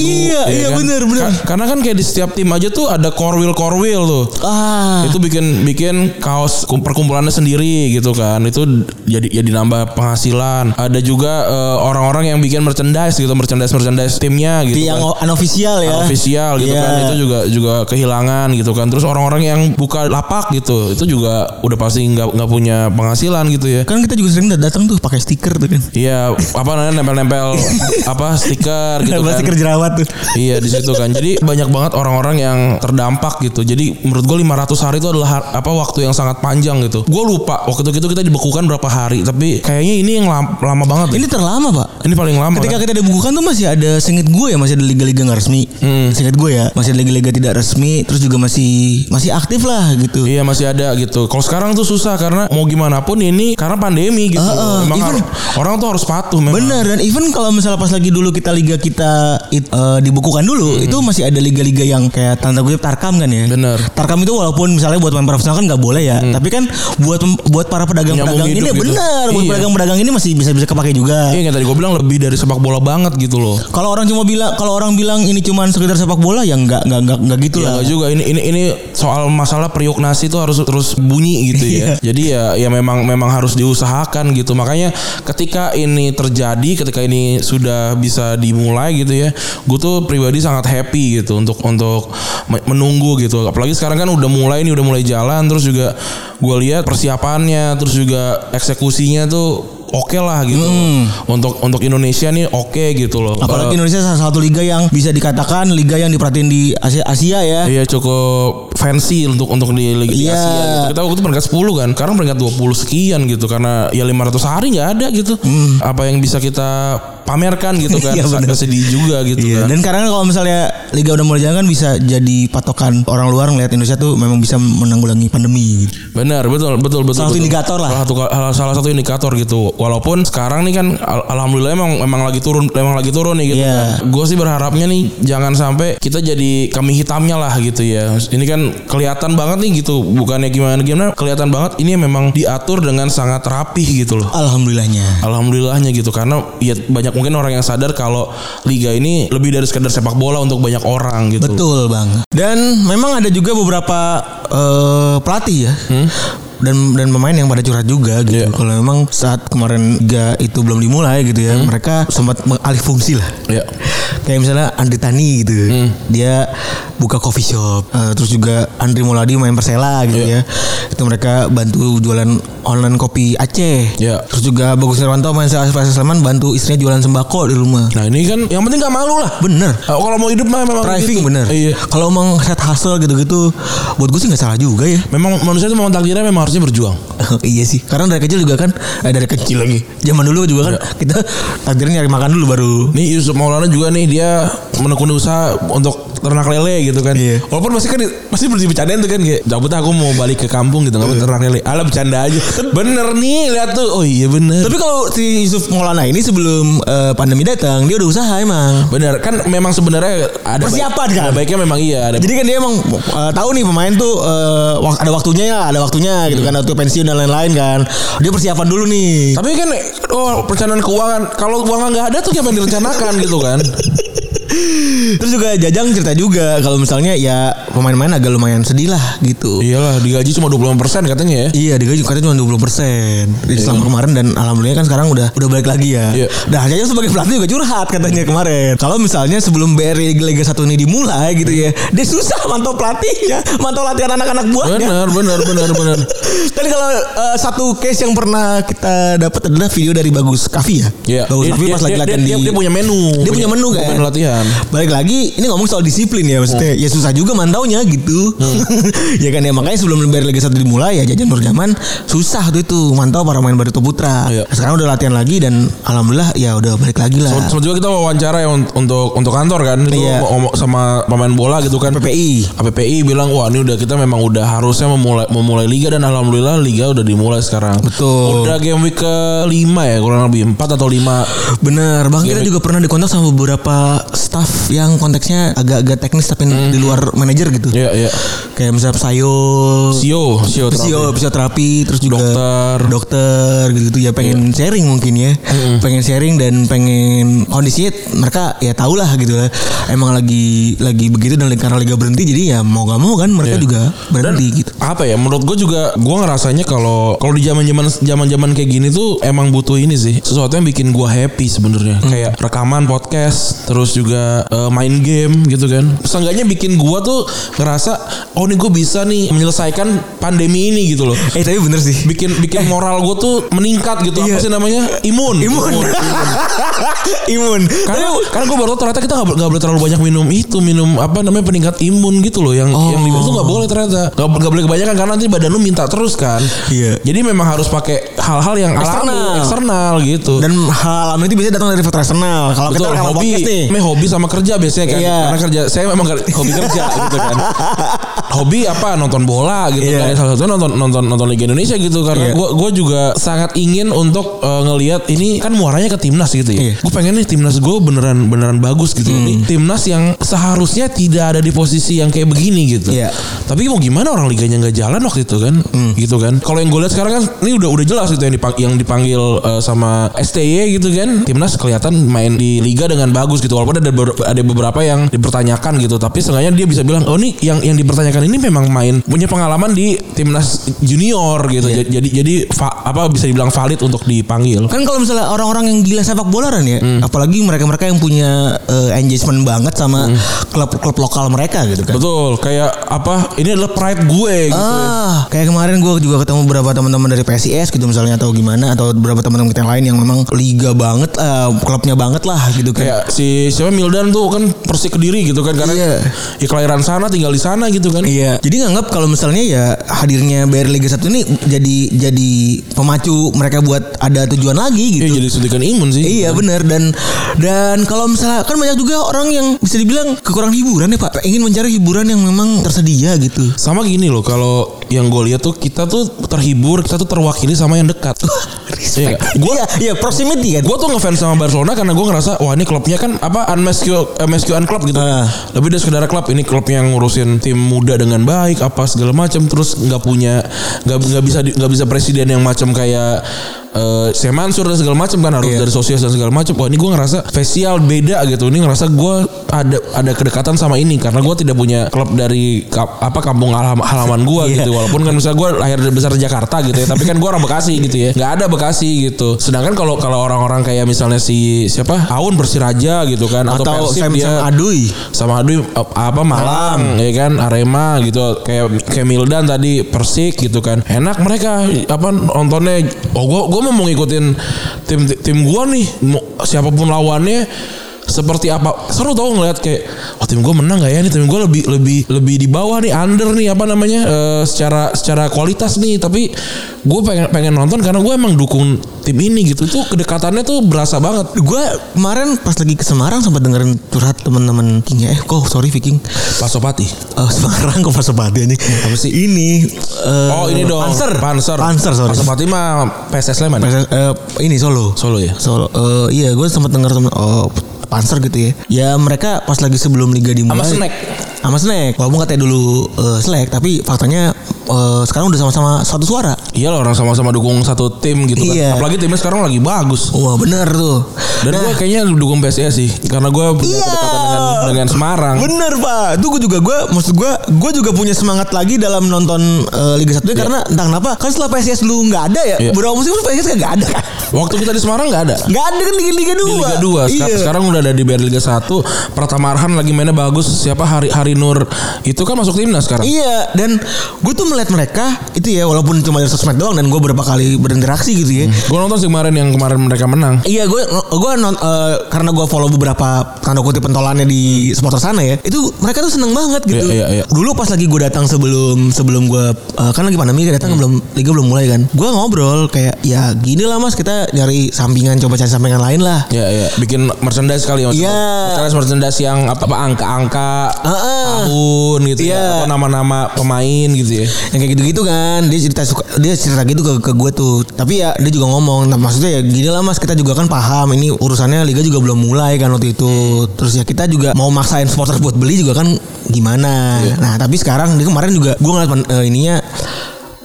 Speaker 2: ya
Speaker 3: iya, iya, bener, bener.
Speaker 2: Ka- karena kan kayak di setiap tim aja tuh ada korwil korwil tuh.
Speaker 3: Ah.
Speaker 2: Itu bikin bikin kaos kum- perkumpulannya sendiri gitu kan. Itu jadi jadi nambah penghasilan. Ada juga eh, orang-orang yang bikin merchandise gitu, merchandise merchandise timnya gitu.
Speaker 3: Di yang
Speaker 2: kan.
Speaker 3: unofficial ya.
Speaker 2: Official gitu
Speaker 3: Iya.
Speaker 2: kan itu juga juga kehilangan gitu kan terus orang-orang yang buka lapak gitu itu juga udah pasti nggak nggak punya penghasilan gitu ya
Speaker 3: Kan kita juga sering datang tuh pakai stiker tuh kan.
Speaker 2: iya apa namanya nempel-nempel apa stiker gitu
Speaker 3: Pasti
Speaker 2: kan
Speaker 3: stiker jerawat tuh.
Speaker 2: Iya di situ kan. Jadi banyak banget orang-orang yang terdampak gitu. Jadi menurut gue 500 hari itu adalah har- apa waktu yang sangat panjang gitu. Gue lupa waktu itu kita dibekukan berapa hari, tapi kayaknya ini yang lam- lama banget. Ini,
Speaker 3: Ini terlama, Pak.
Speaker 2: ini paling lama.
Speaker 3: Ketika
Speaker 2: kan?
Speaker 3: kita dibukukan tuh masih ada singkat gue ya masih ada liga-liga nggak resmi.
Speaker 2: Hmm.
Speaker 3: Singkat gue ya masih ada liga-liga tidak resmi terus juga masih masih aktif lah gitu.
Speaker 2: Iya masih ada gitu. Kalau sekarang tuh susah karena mau gimana pun ini karena pandemi gitu.
Speaker 3: Heeh,
Speaker 2: Emang
Speaker 3: even-
Speaker 2: har- orang tuh harus patuh memang.
Speaker 3: Bener dan even kalau misalnya pas lagi dulu kita liga kita it- eh, dibukukan dulu itu masih ada liga-liga yang kayak tanda kutip tarkam kan ya.
Speaker 2: Hmm. Bener.
Speaker 3: Tarkam itu walaupun misalnya buat pemain profesional kan nggak boleh ya, tapi kan buat buat para pedagang-pedagang
Speaker 2: Menyambung
Speaker 3: ini
Speaker 2: hidup gitu.
Speaker 3: bener, buat
Speaker 2: Iya.
Speaker 3: pedagang-pedagang ini masih bisa bisa kepake juga.
Speaker 2: Iya kayak tadi gue bilang lebih dari sepak bola banget gitu loh.
Speaker 3: Kalau orang cuma bilang kalau orang bilang ini cuma sekedar sepak bola ya nggak nggak nggak nggak gitu
Speaker 2: Ya
Speaker 3: lah.
Speaker 2: nggak juga ini ini ini soal masalah periuk nasi itu harus terus bunyi gitu ya. Jadi ya ya memang memang harus diusahakan gitu. Makanya ketika ini terjadi, ketika ini sudah bisa dimulai gitu ya, gue tuh pribadi sangat happy gitu untuk untuk me- menunggu gitu. Apalagi sekarang kan udah mulai nih udah mulai jalan terus juga gue lihat persiapannya terus juga eksekusinya tuh oke lah gitu untuk untuk Indonesia nih oke gitu loh.
Speaker 3: Apalagi
Speaker 2: Eh,
Speaker 3: Indonesia salah satu liga yang bisa dikatakan liga yang diperhatiin di Asia, Asia ya.
Speaker 2: Iya cukup fancy untuk untuk di Liga di
Speaker 3: Iya.
Speaker 2: Asia gitu. Kita waktu itu peringkat 10 kan. Sekarang peringkat 20 sekian gitu karena ya 500 hari nggak ada gitu. Apa yang bisa kita pamerkan gitu kan.
Speaker 3: Hmm. Iya, benar.
Speaker 2: Sangat sedih juga gitu
Speaker 3: Iya,
Speaker 2: kan.
Speaker 3: Dan karena kalau misalnya liga udah mulai jalan kan bisa jadi patokan orang luar ngelihat Indonesia tuh memang bisa menanggulangi pandemi. gitu.
Speaker 2: Benar, betul, betul, betul.
Speaker 3: Salah satu
Speaker 2: betul.
Speaker 3: indikator lah.
Speaker 2: Salah satu, salah- salah satu indikator gitu. Walaupun sekarang nih kan, al- alhamdulillah emang emang lagi turun, emang lagi turun nih gitu.
Speaker 3: Iya.
Speaker 2: Gue sih berharapnya nih jangan sampai kita jadi kami hitamnya lah gitu ya. Ini kan kelihatan banget nih gitu. Bukannya gimana gimana, kelihatan banget ini memang diatur dengan sangat rapih gitu loh.
Speaker 3: Alhamdulillahnya.
Speaker 2: Alhamdulillahnya gitu karena ya banyak mungkin orang yang sadar kalau liga ini lebih dari sekedar sepak bola untuk banyak orang gitu.
Speaker 3: Betul bang. Dan memang ada juga beberapa eh, pelatih ya. dan dan pemain yang pada curhat juga gitu.
Speaker 2: Iya.
Speaker 3: Kalau memang saat kemarin liga itu belum dimulai gitu ya, mereka sempat mengalih fungsi lah.
Speaker 2: Iya.
Speaker 3: Kayak misalnya Andri Tani gitu.
Speaker 2: Hmm.
Speaker 3: Dia buka coffee shop. Eh, terus juga Andri Muladi main Persela gitu
Speaker 2: Iya.
Speaker 3: ya. Itu mereka bantu jualan online kopi Aceh.
Speaker 2: Iya.
Speaker 3: Terus juga Bagus Irwanto main Selasa Sleman bantu istrinya jualan sembako di rumah.
Speaker 2: Nah ini kan yang penting gak malu lah.
Speaker 3: Bener.
Speaker 2: Ah, kalau mau hidup mah memang gitu.
Speaker 3: Driving bener.
Speaker 2: Iya.
Speaker 3: Kalau emang set hustle gitu-gitu, buat gue sih nggak salah juga ya.
Speaker 2: Memang manusia itu memang takdirnya memang harusnya berjuang.
Speaker 3: iya sih. Karena dari kecil juga kan, eh, dari kecil lagi. Zaman dulu juga kan
Speaker 2: Iya.
Speaker 3: kita takdirnya nyari makan dulu baru.
Speaker 2: Nih Yusuf Maulana juga nih dia menekuni usaha untuk ternak lele gitu kan.
Speaker 3: Iya.
Speaker 2: Walaupun masih kan masih berarti bercandaan tuh kan kayak cabut aku mau balik ke kampung gitu
Speaker 3: Iya.
Speaker 2: nggak mau ternak lele. Ala bercanda aja. Bener nih lihat tuh. Oh iya bener.
Speaker 3: Tapi kalau si Yusuf Maulana ini sebelum eh, pandemi datang, dia udah usaha emang.
Speaker 2: Bener kan memang sebenarnya ada
Speaker 3: Persiapan,
Speaker 2: baik-
Speaker 3: kan?
Speaker 2: Ada baiknya memang iya ada.
Speaker 3: Jadi kan dia emang eh, tahu nih pemain tuh eh, wak- ada waktunya ya, ada waktunya gitu kan, waktu pensiun dan lain-lain kan. Dia persiapan dulu nih.
Speaker 2: tapi kan oh perencanaan keuangan kalau keuangan nggak ada tuh kayak yang direncanakan gitu kan.
Speaker 3: Terus juga Jajang cerita juga kalau misalnya ya pemain-pemain agak lumayan sedih lah gitu.
Speaker 2: Iyalah digaji cuma 25% katanya ya.
Speaker 3: Iya digaji katanya cuma 20 persen Selama kemarin dan alhamdulillah kan sekarang udah udah balik lagi ya
Speaker 2: Iya.
Speaker 3: Nah Jajang sebagai pelatih juga curhat katanya kemarin Kalau misalnya sebelum BRI Liga 1 ini dimulai gitu ya Dia susah mantau pelatihnya Mantau latihan anak-anak buahnya
Speaker 2: Bener bener bener bener.
Speaker 3: Tadi kalau eh, satu case yang pernah kita dapat adalah video dari Bagus Kavi ya.
Speaker 2: Iya.
Speaker 3: Bagus
Speaker 2: Dia-
Speaker 3: Kavi
Speaker 2: dia-
Speaker 3: pas lagi
Speaker 2: dia-
Speaker 3: latihan
Speaker 2: dia-
Speaker 3: di
Speaker 2: dia punya menu.
Speaker 3: Dia punya
Speaker 2: Punya-
Speaker 3: menu kan.
Speaker 2: menu latihan.
Speaker 3: Balik lagi ini ngomong soal disiplin ya maksudnya.
Speaker 2: Hmm.
Speaker 3: Ya susah juga mantaunya gitu. ya kan ya makanya sebelum Liga Liga 1 dimulai ya Jajan Nurjaman susah tuh itu mantau para pemain Barito Putra.
Speaker 2: Iya.
Speaker 3: Sekarang udah latihan lagi dan alhamdulillah ya udah balik lagi lah.
Speaker 2: Sama juga kita wawancara ya un- untuk untuk kantor kan itu
Speaker 3: Iya.
Speaker 2: ngomong sama pemain bola gitu kan.
Speaker 3: PPI.
Speaker 2: APPI bilang wah ini udah kita memang udah harusnya memulai memulai liga dan alhamdulillah liga udah dimulai sekarang.
Speaker 3: Betul.
Speaker 2: Udah game week ke 5 ya kurang lebih 4 atau 5.
Speaker 3: Bener, Bang
Speaker 2: Iya,
Speaker 3: kita juga pernah dikontak sama beberapa staff yang konteksnya agak-agak teknis tapi di luar manajer gitu.
Speaker 2: Hmm. Iya iya.
Speaker 3: Kayak misalnya Sayo,
Speaker 2: Sio, Sio.
Speaker 3: Fisio, fisioterapi, iya, terus juga
Speaker 2: ya, Dokter. Iya.
Speaker 3: dokter gitu ya pengen sharing mungkin ya, pengen sharing dan pengen kondisinya mereka ya tau lah gitu lah, emang lagi lagi begitu dan karena liga berhenti jadi ya mau gak mau kan
Speaker 2: Iya.
Speaker 3: mereka juga berhenti gitu.
Speaker 2: apa ya menurut gue juga gue ngerasanya kalau kalau di zaman zaman zaman zaman kayak gini tuh emang butuh ini sih sesuatu yang bikin gue happy sebenarnya
Speaker 3: Hmm.
Speaker 2: kayak rekaman podcast terus juga eh, main game gitu kan seenggaknya bikin gue tuh ngerasa oh nih gue bisa nih menyelesaikan pandemi ini gitu loh
Speaker 3: Eh tapi bener sih.
Speaker 2: bikin bikin moral gue tuh meningkat gitu apa
Speaker 3: Iya.
Speaker 2: sih namanya imun
Speaker 3: Imun. Imun.
Speaker 2: karena karena gue baru tau ternyata kita nggak bo- nggak boleh terlalu banyak minum itu minum apa namanya peningkat imun gitu loh yang yang
Speaker 3: Oh.
Speaker 2: diminum tuh nggak boleh ternyata nggak nggak boleh kebanyakan karena nanti badan lu minta terus kan
Speaker 3: Iya.
Speaker 2: jadi memang harus pakai hal-hal yang alami,
Speaker 3: Eksternal.
Speaker 2: eksternal gitu
Speaker 3: Dan hal alami itu biasanya datang dari faktor eksternal. Kalau kita
Speaker 2: Betul,
Speaker 3: rekaman
Speaker 2: hobi,
Speaker 3: podcast nih.
Speaker 2: meh hobi sama kerja biasanya kan.
Speaker 3: Iya.
Speaker 2: Karena kerja saya memang ker- hobi kerja gitu kan. Hobi apa nonton bola gitu kan.
Speaker 3: Iya.
Speaker 2: Salah satunya nonton nonton nonton Liga Indonesia gitu karena
Speaker 3: Iya.
Speaker 2: gua gua juga sangat ingin untuk eh, ngelihat ini kan muaranya ke timnas gitu ya.
Speaker 3: Iya. Hmm.
Speaker 2: Gue pengen nih timnas gue beneran beneran bagus gitu. Ini timnas yang seharusnya tidak ada di posisi yang kayak begini gitu.
Speaker 3: Iya.
Speaker 2: Tapi mau gimana orang liganya nggak jalan waktu itu kan? Gitu kan. Kalau yang gue lihat sekarang kan ini udah udah jelas gitu yang dipanggil, yang dipanggil eh, sama STY gitu kan. Timnas kelihatan main di liga dengan bagus gitu walaupun ada ber- ada beberapa yang dipertanyakan gitu, tapi seenggaknya dia bisa bilang, "Oh, nih yang yang dipertanyakan ini memang main punya pengalaman di timnas junior gitu." Jadi jadi jadi fa- apa bisa dibilang valid untuk dipanggil.
Speaker 3: Kan kalau misalnya orang-orang yang gila sepak bola kan
Speaker 2: Mm.
Speaker 3: ya, apalagi mereka-mereka yang punya eh, engagement banget
Speaker 2: Mm.
Speaker 3: sama klub-klub lokal mereka gitu kan.
Speaker 2: Betul, kayak apa? Ini adalah pride gue gitu.
Speaker 3: Ah, kayak kemarin gue juga ketemu beberapa teman-teman dari PSIS gitu misalnya atau gimana atau beberapa teman-teman kita yang lain yang memang liga banget, eh, klubnya banget lah gitu kayak.
Speaker 2: Kayak si siapa Mildan tuh kan Persik Kediri gitu kan karena
Speaker 3: Iya.
Speaker 2: ya kelahiran sana tinggal di sana gitu kan.
Speaker 3: Iya. Jadi nganggap kalau misalnya ya hadirnya BR Liga 1 ini jadi jadi pemacu mereka buat ada tujuan lagi gitu.
Speaker 2: Iya jadi suntikan imun sih.
Speaker 3: Iya benar dan dan kalau misalnya kan banyak juga orang yang bisa dibilang kekurangan hiburan ya Pak. Ingin mencari hiburan yang memang tersedia gitu.
Speaker 2: Sama gini loh kalau yang gue lihat tuh kita tuh terhibur, kita tuh terwakili sama yang dekat. Iya.
Speaker 3: Respect. Iya, iya proximity kan.
Speaker 2: Gue tuh ngefans sama Barcelona karena gue ngerasa wah ini klubnya kan apa Anmes MSQ MSQ Club gitu.
Speaker 3: Ah.
Speaker 2: Lebih dari sekedar klub ini klub yang ngurusin tim muda dengan baik apa segala macam terus nggak punya nggak nggak bisa di- nggak bisa presiden yang macam kayak eh Syekh Mansur dan segala macam kan harus
Speaker 3: Iya.
Speaker 2: dari sosial dan segala macam. Wah ini gue ngerasa spesial beda gitu. Ini ngerasa gue ada ada kedekatan sama ini karena gue tidak punya klub dari ka- apa kampung alam- halaman gue
Speaker 3: Iya.
Speaker 2: gitu. Walaupun kan misalnya gue lahir dan besar di Jakarta gitu ya, tapi kan gue orang Bekasi gitu ya. Nggak ada Bekasi gitu. Sedangkan kalau kalau orang-orang kayak misalnya si siapa Aun Persiraja gitu kan atau,
Speaker 3: atau
Speaker 2: Persib
Speaker 3: Sam
Speaker 2: dia
Speaker 3: Sam Adui
Speaker 2: sama Adui ap- apa Malang ya kan Arema gitu kayak kayak Mildan tadi Persik gitu kan enak mereka apa nontonnya oh gua gua mau ngikutin tim tim gua nih Mau- siapapun lawannya seperti apa seru tau ngeliat kayak oh tim gua menang gak ya nih tim gua lebih lebih lebih di bawah nih under nih apa namanya eh, secara secara kualitas nih tapi gua pengen pengen nonton karena gua emang dukung tim ini gitu tuh kedekatannya tuh berasa banget
Speaker 3: gue kemarin pas lagi ke Semarang sempat dengerin curhat teman-teman King ya. Eh, kok sorry Viking.
Speaker 2: Pasopati
Speaker 3: Eh, Semarang kok Pasopati ini? Apa
Speaker 2: sih?
Speaker 3: Ini eh,
Speaker 2: Oh ini dong
Speaker 3: Panser.
Speaker 2: Panser
Speaker 3: Panser sorry.
Speaker 2: Pasopati mah PSS Sleman ya?
Speaker 3: Panser, eh, ini Solo.
Speaker 2: Solo ya
Speaker 3: Solo. Eh, iya, gue sempat denger temen oh, Panser gitu ya. Ya mereka pas lagi sebelum liga dimulai.
Speaker 2: Sama snack.
Speaker 3: Sama snack. Walaupun katanya dulu eh, snack, tapi faktanya eh, sekarang udah sama-sama satu suara.
Speaker 2: Iya loh orang sama-sama dukung satu tim gitu kan
Speaker 3: Iya.
Speaker 2: Apalagi timnya sekarang lagi bagus
Speaker 3: Wah bener tuh.
Speaker 2: Dan
Speaker 3: Nah,
Speaker 2: gue kayaknya dukung PSS sih Karena gue punya
Speaker 3: Iya.
Speaker 2: kedekatan dengan, dengan Semarang
Speaker 3: Bener pak, itu gue juga gue, maksud gue, gue juga punya semangat lagi dalam nonton eh, Liga 1 karena entah kenapa, kan setelah PSS lu nggak ada ya,
Speaker 2: Iya.
Speaker 3: berapa musim PSS nggak ada kan?
Speaker 2: Waktu kita di Semarang gak ada
Speaker 3: Nggak ada kan Liga Liga
Speaker 2: di
Speaker 3: dua.
Speaker 2: Liga 2
Speaker 3: Iya.
Speaker 2: Sekarang udah ada di BR Liga 1 Pratama Arhan lagi mainnya bagus Siapa Hari Hari Nur Itu kan masuk timnas sekarang
Speaker 3: Iya, dan gue tuh melihat mereka itu ya, walaupun cuma dari sosmed doang dan gue berapa kali berinteraksi gitu ya.
Speaker 2: Gue nonton sih kemarin yang kemarin mereka menang
Speaker 3: Iya gue gue non eh, karena gue follow beberapa tanda kutip pentolannya di supporter sana ya itu mereka tuh seneng banget gitu.
Speaker 2: Iya, iya, iya.
Speaker 3: Dulu pas lagi gue datang sebelum sebelum gue eh, kan lagi pandemi
Speaker 2: Iya.
Speaker 3: datang belum liga belum mulai kan. Gue ngobrol kayak ya gini lah mas kita nyari sampingan coba cari sampingan lain lah.
Speaker 2: Iya iya bikin merchandise kali ya maksudnya.
Speaker 3: Iya.
Speaker 2: Merchandise merchandise yang apa apa angka-angka
Speaker 3: Heeh.
Speaker 2: tahun gitu
Speaker 3: Iya.
Speaker 2: ya. Apa nama-nama pemain gitu ya.
Speaker 3: yang kayak gitu-gitu kan dia cerita suka, dia cerita gitu ke, ke gue tuh tapi ya dia juga ngomong nah, maksudnya ya gini lah mas kita juga kan paham ini urusannya liga juga belum mulai kan waktu itu terus ya kita juga mau maksain supporter buat beli juga kan gimana nah tapi sekarang dia kemarin juga gue ngeliat eh, ininya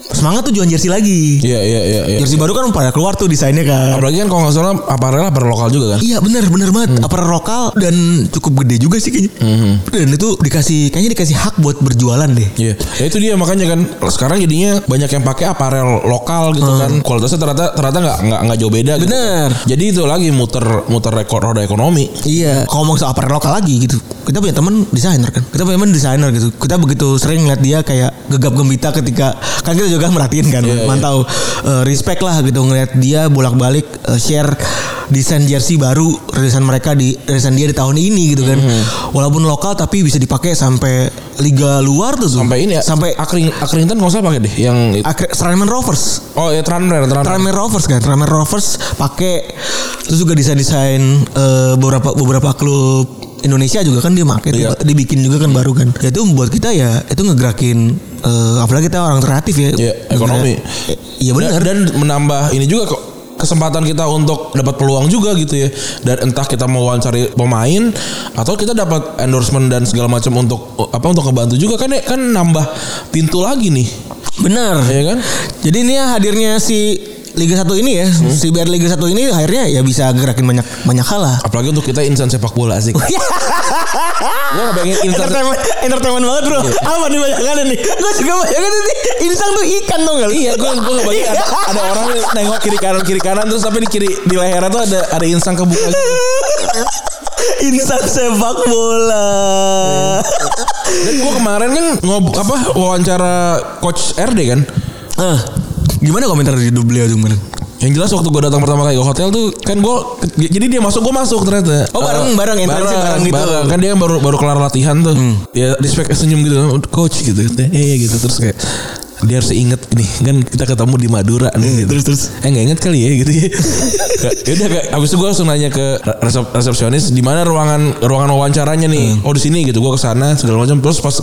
Speaker 3: semangat tuh jualan jersey lagi
Speaker 2: Iya iya iya. iya.
Speaker 3: jersey baru kan pada keluar tuh desainnya kan
Speaker 2: Apalagi kan kalau nggak salah aparel aparel lokal juga kan.
Speaker 3: Iya benar benar banget. Aparel lokal dan cukup gede juga sih kayaknya. Dan itu dikasih kayaknya dikasih hak buat berjualan deh.
Speaker 2: Iya, ya itu dia makanya kan sekarang jadinya banyak yang pakai aparel lokal gitu kan kualitasnya ternyata ternyata nggak nggak nggak jauh beda. Gitu.
Speaker 3: Bener.
Speaker 2: Jadi itu lagi muter muter rekor roda ekonomi.
Speaker 3: Iya, ngomong soal aparel lokal lagi gitu. Kita punya temen desainer kan. Kita punya temen desainer gitu. Kita begitu sering ngeliat dia kayak gegap gembita ketika kan kita juga merhatiin kan,
Speaker 2: Iya,
Speaker 3: mantau Eh, respect lah gitu ngeliat dia bolak-balik eh, share desain jersey baru desain mereka di desain dia di tahun ini gitu kan.
Speaker 2: Mhm.
Speaker 3: Walaupun lokal tapi bisa dipakai sampai liga luar tuh. Zul.
Speaker 2: Sampai ini ya
Speaker 3: sampai
Speaker 2: Akring Akrington kalau nggak salah pakai deh yang
Speaker 3: Akre- Tranmere Rovers.
Speaker 2: oh ya Tranmere Tranmere.
Speaker 3: Tranmere Rovers kan Tranmere Rovers pakai terus juga desain desain beberapa beberapa klub Indonesia juga kan dia pakai
Speaker 2: Iya.
Speaker 3: dibikin juga kan baru kan ya itu buat kita ya itu ngegerakin eh, apalagi kita orang kreatif ya
Speaker 2: Iya, ekonomi.
Speaker 3: Eh, iya benar
Speaker 2: Dan, dan menambah ini juga kok kesempatan kita untuk dapat peluang juga gitu ya. Dan entah kita mau wawancari pemain atau kita dapat endorsement dan segala macam untuk apa untuk ngebantu juga kan ya, kan nambah pintu lagi nih.
Speaker 3: benar
Speaker 2: Ya kan?
Speaker 3: jadi ini ya hadirnya si Liga 1 ini ya
Speaker 2: Hmm.
Speaker 3: si biar Liga 1 ini akhirnya ya bisa gerakin banyak banyak hal lah Iya,
Speaker 2: Apalagi untuk kita insan sepak bola asik. Gue gak pengen insan
Speaker 3: entertainment entertainment banget
Speaker 2: Iya.
Speaker 3: bro apa nih banyak kali nih gue juga banyak kali nih insang tuh ikan dong kali
Speaker 2: Iya, gue gue kebayang ada, ada orang yang nengok kiri kanan kiri kanan terus tapi di kiri di lehernya tuh ada ada insang kebuka. gitu.
Speaker 3: Insan sepak bola.
Speaker 2: Dan gue kemarin kan ngob apa wawancara coach RD kan.
Speaker 3: Eh, gimana komentar di beliau tuh kemarin?
Speaker 2: Yang jelas waktu gue datang pertama kali ke hotel tuh kan gue jadi dia masuk gue masuk ternyata.
Speaker 3: Oh, bareng-
Speaker 2: Eh,
Speaker 3: bareng, interaksi bareng gitu.
Speaker 2: Kan dia yang
Speaker 3: Hmm.
Speaker 2: baru baru kelar latihan tuh. Ya respect senyum Iya, gitu coach gitu. Eh gitu terus kayak dia harus inget nih kan kita ketemu di Madura nih gitu.
Speaker 3: Hmm, Terus, terus.
Speaker 2: eh nggak inget kali ya gitu ya ya udah kayak abis itu gue langsung nanya ke resep- resepsionis di mana ruangan ruangan wawancaranya nih
Speaker 3: Hmm.
Speaker 2: oh di sini gitu gue kesana segala macam terus pas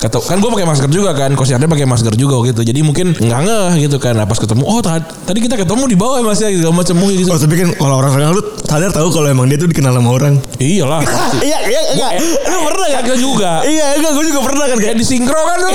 Speaker 2: kata kan gue pakai masker juga kan konsernya pakai masker juga gitu jadi mungkin nggak ngeh gitu kan nah, pas ketemu oh ta- tadi kita ketemu di bawah ya mas ya segala macam oh, gitu
Speaker 3: Oh tapi kan kalau orang terkenal lu sadar tahu kalau emang dia tuh dikenal sama orang.
Speaker 2: iyalah
Speaker 3: Iya iya enggak.
Speaker 2: lu pernah ya kita juga
Speaker 3: Iya enggak gue juga pernah kan
Speaker 2: kayak
Speaker 3: kayak
Speaker 2: di sinkro kan lu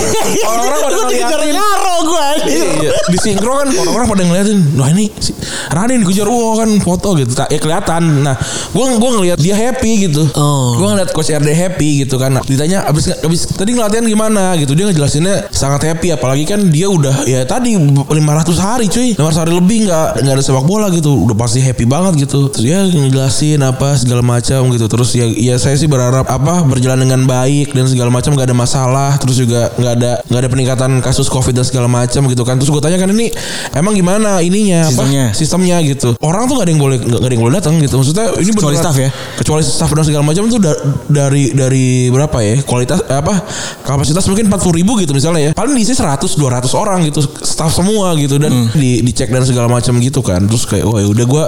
Speaker 2: orang-orang pada
Speaker 3: Iya, Gua dikejar
Speaker 2: ngeliatin
Speaker 3: ngaro gue anjir.
Speaker 2: Iya, di sinkro kan orang-orang pada ngeliatin, wah ini si Raden dikejar, wah kan foto gitu, Tak- ya kelihatan. Nah, gua gua ngeliat dia happy gitu,
Speaker 3: Oh.
Speaker 2: gua ngeliat coach RD happy gitu kan. Nah, ditanya abis abis tadi ngelatihan gimana gitu, dia ngejelasinnya sangat happy, apalagi kan dia udah ya tadi 500 hari cuy, 500 hari lebih nggak nggak ada sepak bola gitu, udah pasti happy banget gitu. Terus dia ngejelasin apa segala macam gitu, terus ya ya saya sih berharap apa berjalan dengan baik dan segala macam nggak ada masalah, terus juga nggak ada nggak ada peningkatan kasus covid dan segala macam gitu kan. Terus gue tanya kan ini emang gimana ininya
Speaker 3: Sistemnya.
Speaker 2: apa sistemnya gitu. Orang tuh nggak ada yang boleh nggak ada yang boleh datang gitu. Maksudnya ini
Speaker 3: Kecuali
Speaker 2: beneran-
Speaker 3: staff ya?
Speaker 2: kecuali staff dan segala macam tuh da- dari dari berapa ya kualitas eh, apa kapasitas mungkin 40 ribu gitu misalnya ya paling diisi 100 200 orang gitu staff semua gitu dan di, dicek dan segala macam gitu kan terus kayak wah udah gua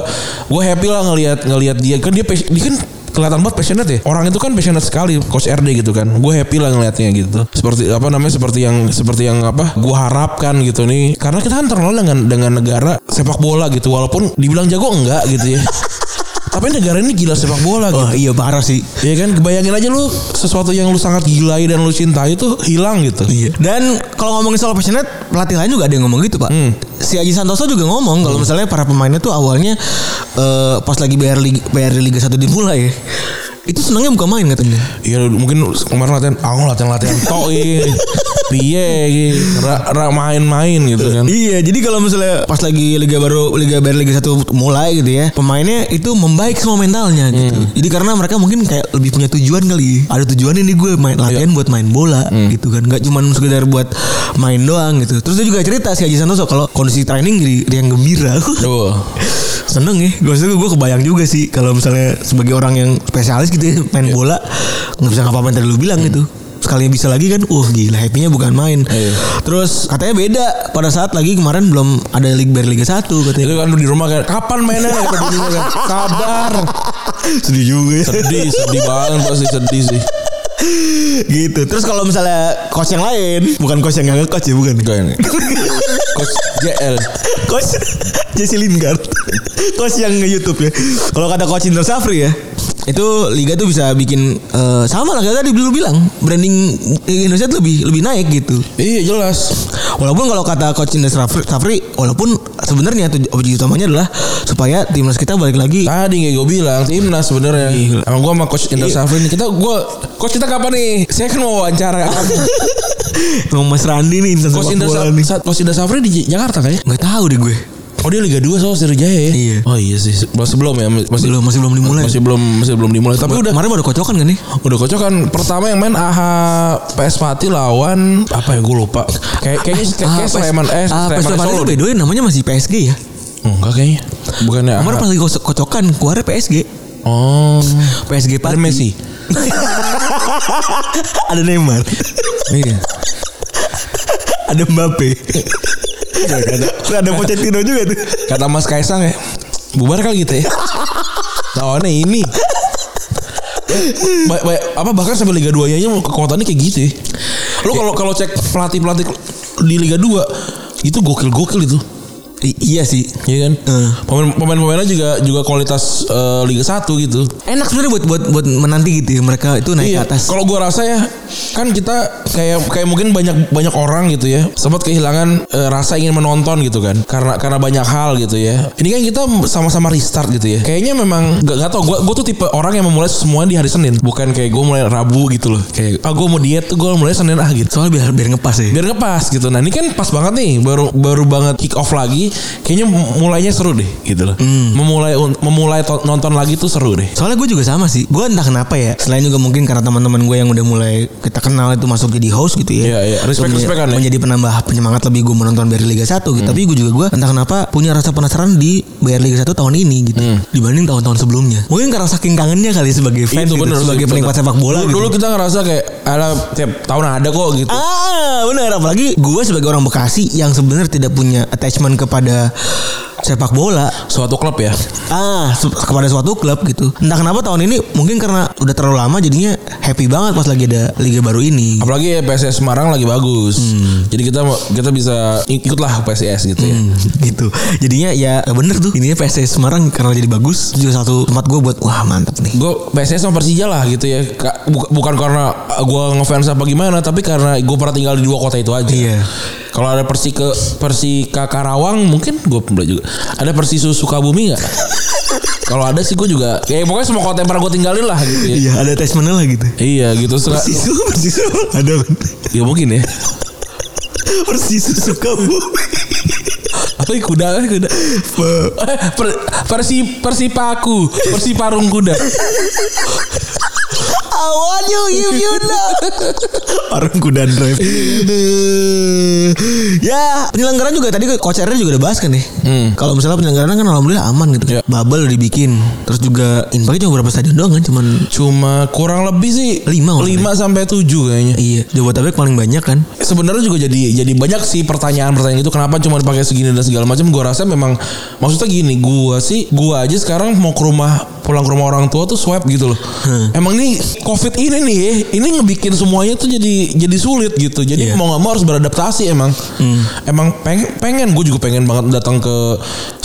Speaker 2: gua happy lah ngelihat ngelihat dia kan dia pas- dia kan kelihatan banget passionate ya orang itu kan passionate sekali coach RD gitu kan gue happy lah ngelihatnya gitu seperti apa namanya seperti yang seperti yang apa gue harapkan gitu nih karena kita kan terkenal dengan dengan negara sepak bola gitu walaupun dibilang jago enggak gitu ya tapi negara ini gila sepak bola gitu
Speaker 3: Wah iya parah sih.
Speaker 2: Ya kan, bayangin aja lu sesuatu yang lu sangat gilai dan lu cintai itu hilang gitu.
Speaker 3: Iya. Dan kalau ngomongin soal passionate, pelatih lain juga ada yang ngomong gitu, Pak. Si Aji Santoso juga ngomong kalau misalnya para pemainnya tuh awalnya eh, pas lagi BR Liga, BR Liga 1 dimulai ya. Itu senangnya bukan main katanya.
Speaker 2: Iya mungkin kemarin latihan, aku latihan latihan tok iya. piye gitu, ra, ra main-main gitu kan.
Speaker 3: Iya, jadi kalau misalnya pas lagi liga baru liga BR Liga 1 mulai gitu ya, pemainnya itu membaik semua mentalnya gitu. Jadi karena mereka mungkin kayak lebih punya tujuan kali. Ada tujuan ini gue main latihan buat main bola gitu kan. Gak cuman sekedar buat main doang gitu. Terus dia juga cerita si Haji Santoso kalau kondisi training jadi dia yang gembira.
Speaker 2: Tuh.
Speaker 3: Seneng ya Gue gue kebayang juga sih Kalau misalnya Sebagai orang yang spesialis gitu ya Main bola nggak bisa ngapa-ngapain tadi lu bilang gitu Sekalinya bisa lagi kan Wah gila happy-nya bukan main
Speaker 2: Iya.
Speaker 3: Terus katanya beda Pada saat lagi kemarin Belum ada Liga Bar Liga 1
Speaker 2: Itu
Speaker 3: katanya
Speaker 2: kan lu di rumah kan, kapan mainnya gitu di rumah kan. Sabar.
Speaker 3: Sedih juga ya
Speaker 2: Sedih, sedih banget pasti sedih sih.
Speaker 3: Gitu Terus kalau misalnya Coach yang lain Bukan coach yang gak nge-coach ya bukan
Speaker 2: Enggak ini. Coach JL.
Speaker 3: Coach Jesse Lingard Coach yang nge-youtube ya Kalau kata Coach Indra Safri ya itu liga tuh bisa bikin eh, sama lah kayak tadi lu bilang branding Liga Indonesia tuh lebih lebih naik gitu.
Speaker 2: Iya jelas.
Speaker 3: Walaupun kalau kata coach Indra Safri, Safri walaupun sebenarnya tuj- objek utamanya adalah supaya timnas kita balik lagi
Speaker 2: Tadi kayak gue bilang timnas sebenarnya.
Speaker 3: Iya.
Speaker 2: Sama gue sama coach Indra Safri nih, kita gue coach kita kapan nih? Saya kan mau wawancara.
Speaker 3: Emang Mas Randi nih insan
Speaker 2: Coach
Speaker 3: sepak
Speaker 2: Indra,
Speaker 3: bola
Speaker 2: Sa-
Speaker 3: nih.
Speaker 2: Sa- Coach Indra Safri di J- Jakarta kayaknya.
Speaker 3: Nggak tahu deh gue.
Speaker 2: Oh dia Liga 2 soal Sriwijaya ya?
Speaker 3: Iya.
Speaker 2: Oh iya sih. Masih belum ya? Masih
Speaker 3: Belum masih belum dimulai.
Speaker 2: masih belum masih belum dimulai. Tapi udah
Speaker 3: Kemarin baru kocokan kan nih?
Speaker 2: udah kocok kan. Pertama yang main AH PS Pati lawan apa ya gue lupa. Kayak kayaknya kayak,
Speaker 3: Ah,
Speaker 2: kayak Sleman eh
Speaker 3: PS
Speaker 2: Sleman Solo.
Speaker 3: Sleman by the way namanya masih PSG ya.
Speaker 2: Enggak kayaknya. Bukannya AHA.
Speaker 3: Kemarin pas lagi ko- kocokan keluarnya PSG.
Speaker 2: Oh. Ada
Speaker 3: PSG Pati.
Speaker 2: Messi.
Speaker 3: ada Neymar,
Speaker 2: Iya.
Speaker 3: ada Mbappe. ada Pochettino juga tuh.
Speaker 2: Kata Mas Kaisang ya. Bubar kali gitu ya. Lawannya ini. Ba- ba- apa bahkan sampai Liga 2 nya kekuatannya kayak gitu ya. Lu kalau kalau cek pelatih-pelatih di Liga 2 itu gokil-gokil itu.
Speaker 3: I- iya sih.
Speaker 2: Iya kan?
Speaker 3: Eh.
Speaker 2: Pemain- Pemain-pemainnya juga juga kualitas eh, Liga 1 gitu.
Speaker 3: Enak sebenarnya buat buat buat menanti gitu ya mereka itu naik
Speaker 2: Iya.
Speaker 3: ke atas.
Speaker 2: Kalau gua rasa ya kan kita kayak kayak mungkin banyak banyak orang gitu ya sempat kehilangan eh, rasa ingin menonton gitu kan karena karena banyak hal gitu ya. Ini kan kita sama-sama restart gitu ya. Kayaknya memang gak, gak tau gue gue tuh tipe orang yang memulai semuanya di hari Senin bukan kayak gue mulai Rabu gitu loh. Kayak ah gue mau diet tuh gue mulai Senin ah gitu
Speaker 3: Soalnya biar biar ngepas ya.
Speaker 2: biar ngepas gitu. Nah ini kan pas banget nih baru baru banget kick off lagi kayaknya mulainya seru deh gitu loh.
Speaker 3: Hmm.
Speaker 2: Memulai memulai to- nonton lagi tuh seru deh.
Speaker 3: Soalnya gue juga sama sih. Gue entah kenapa ya. Selain juga mungkin karena teman-teman gue yang udah mulai kita kenal itu masuk jadi host gitu ya.
Speaker 2: Iya, iya. Respect-
Speaker 3: Menja-
Speaker 2: respect kan ya? Hmm.
Speaker 3: Menjadi penambah penyemangat lebih gue menonton BR Liga 1 gitu. Tapi gue juga gue entah kenapa punya rasa penasaran di BR Liga 1 tahun ini gitu.
Speaker 2: Hmm.
Speaker 3: Dibanding tahun-tahun sebelumnya. Mungkin karena saking kangennya kali sebagai fans
Speaker 2: Iya, Itu
Speaker 3: gitu,
Speaker 2: bener,
Speaker 3: sebagai
Speaker 2: bener.
Speaker 3: penikmat sepak bola
Speaker 2: Dulu,
Speaker 3: gitu.
Speaker 2: dulu kita ngerasa kayak ala tiap tahun ada kok gitu.
Speaker 3: Ah, benar. Apalagi gue sebagai orang Bekasi yang sebenarnya tidak punya attachment kepada sepak bola.
Speaker 2: Suatu klub ya.
Speaker 3: ah su- kepada suatu klub gitu entah kenapa tahun ini mungkin karena udah terlalu lama jadinya happy banget pas lagi ada liga baru ini
Speaker 2: Apalagi ya PSS Semarang lagi bagus. Jadi kita kita bisa ik- ikutlah PSS gitu ya.
Speaker 3: Hmm, gitu jadinya ya nggak bener tuh ininya PSS Semarang karena jadi bagus itu juga satu tempat gue buat wah mantep nih
Speaker 2: Gue PSS sama Persija lah gitu ya. Ka- buka- Bukan karena gue ngefans apa gimana, tapi karena gue pernah tinggal di dua kota itu aja.
Speaker 3: Iya.
Speaker 2: Kalau ada Persika Persika Karawang mungkin gue pernah juga. Ada Persisu Sukabumi nggak? Kalau ada sih gue juga. Ya pokoknya semua kota yang pernah gue tinggalin lah gitu ya.
Speaker 3: iya ada attachmentnya lah gitu
Speaker 2: Iya gitu. Setelah-
Speaker 3: persisu persisu ada
Speaker 2: Ya mungkin ya.
Speaker 3: persisu suka
Speaker 2: Apa ya, kuda kan kuda. Eh, Per, persi persipaku, persiparung kuda.
Speaker 3: I want Oh, you if you know Orang kuda drive Ya penyelenggaraan juga tadi kocernya juga udah bahas kan ya Kalau misalnya penyelenggaraan kan alhamdulillah aman
Speaker 2: Ya.
Speaker 3: gitu Bubble udah dibikin Terus juga invite cuma berapa stadion doang kan Cuman
Speaker 2: Cuma kurang lebih sih
Speaker 3: Lima orang.
Speaker 2: 5 sampai 7 kayaknya.
Speaker 3: Iya Jabodetabek paling banyak kan
Speaker 2: Sebenarnya juga jadi jadi banyak sih pertanyaan-pertanyaan itu kenapa cuma pakai segini dan segala macam. Gua rasa memang maksudnya gini, gua sih gua aja sekarang mau ke rumah pulang ke rumah orang tua tuh swab gitu loh. Emang nih Covid ini nih, ini ngebikin semuanya tuh jadi jadi sulit gitu. Jadi
Speaker 3: Iya.
Speaker 2: mau nggak mau harus beradaptasi emang. Emang pengen pengen gue juga pengen banget datang ke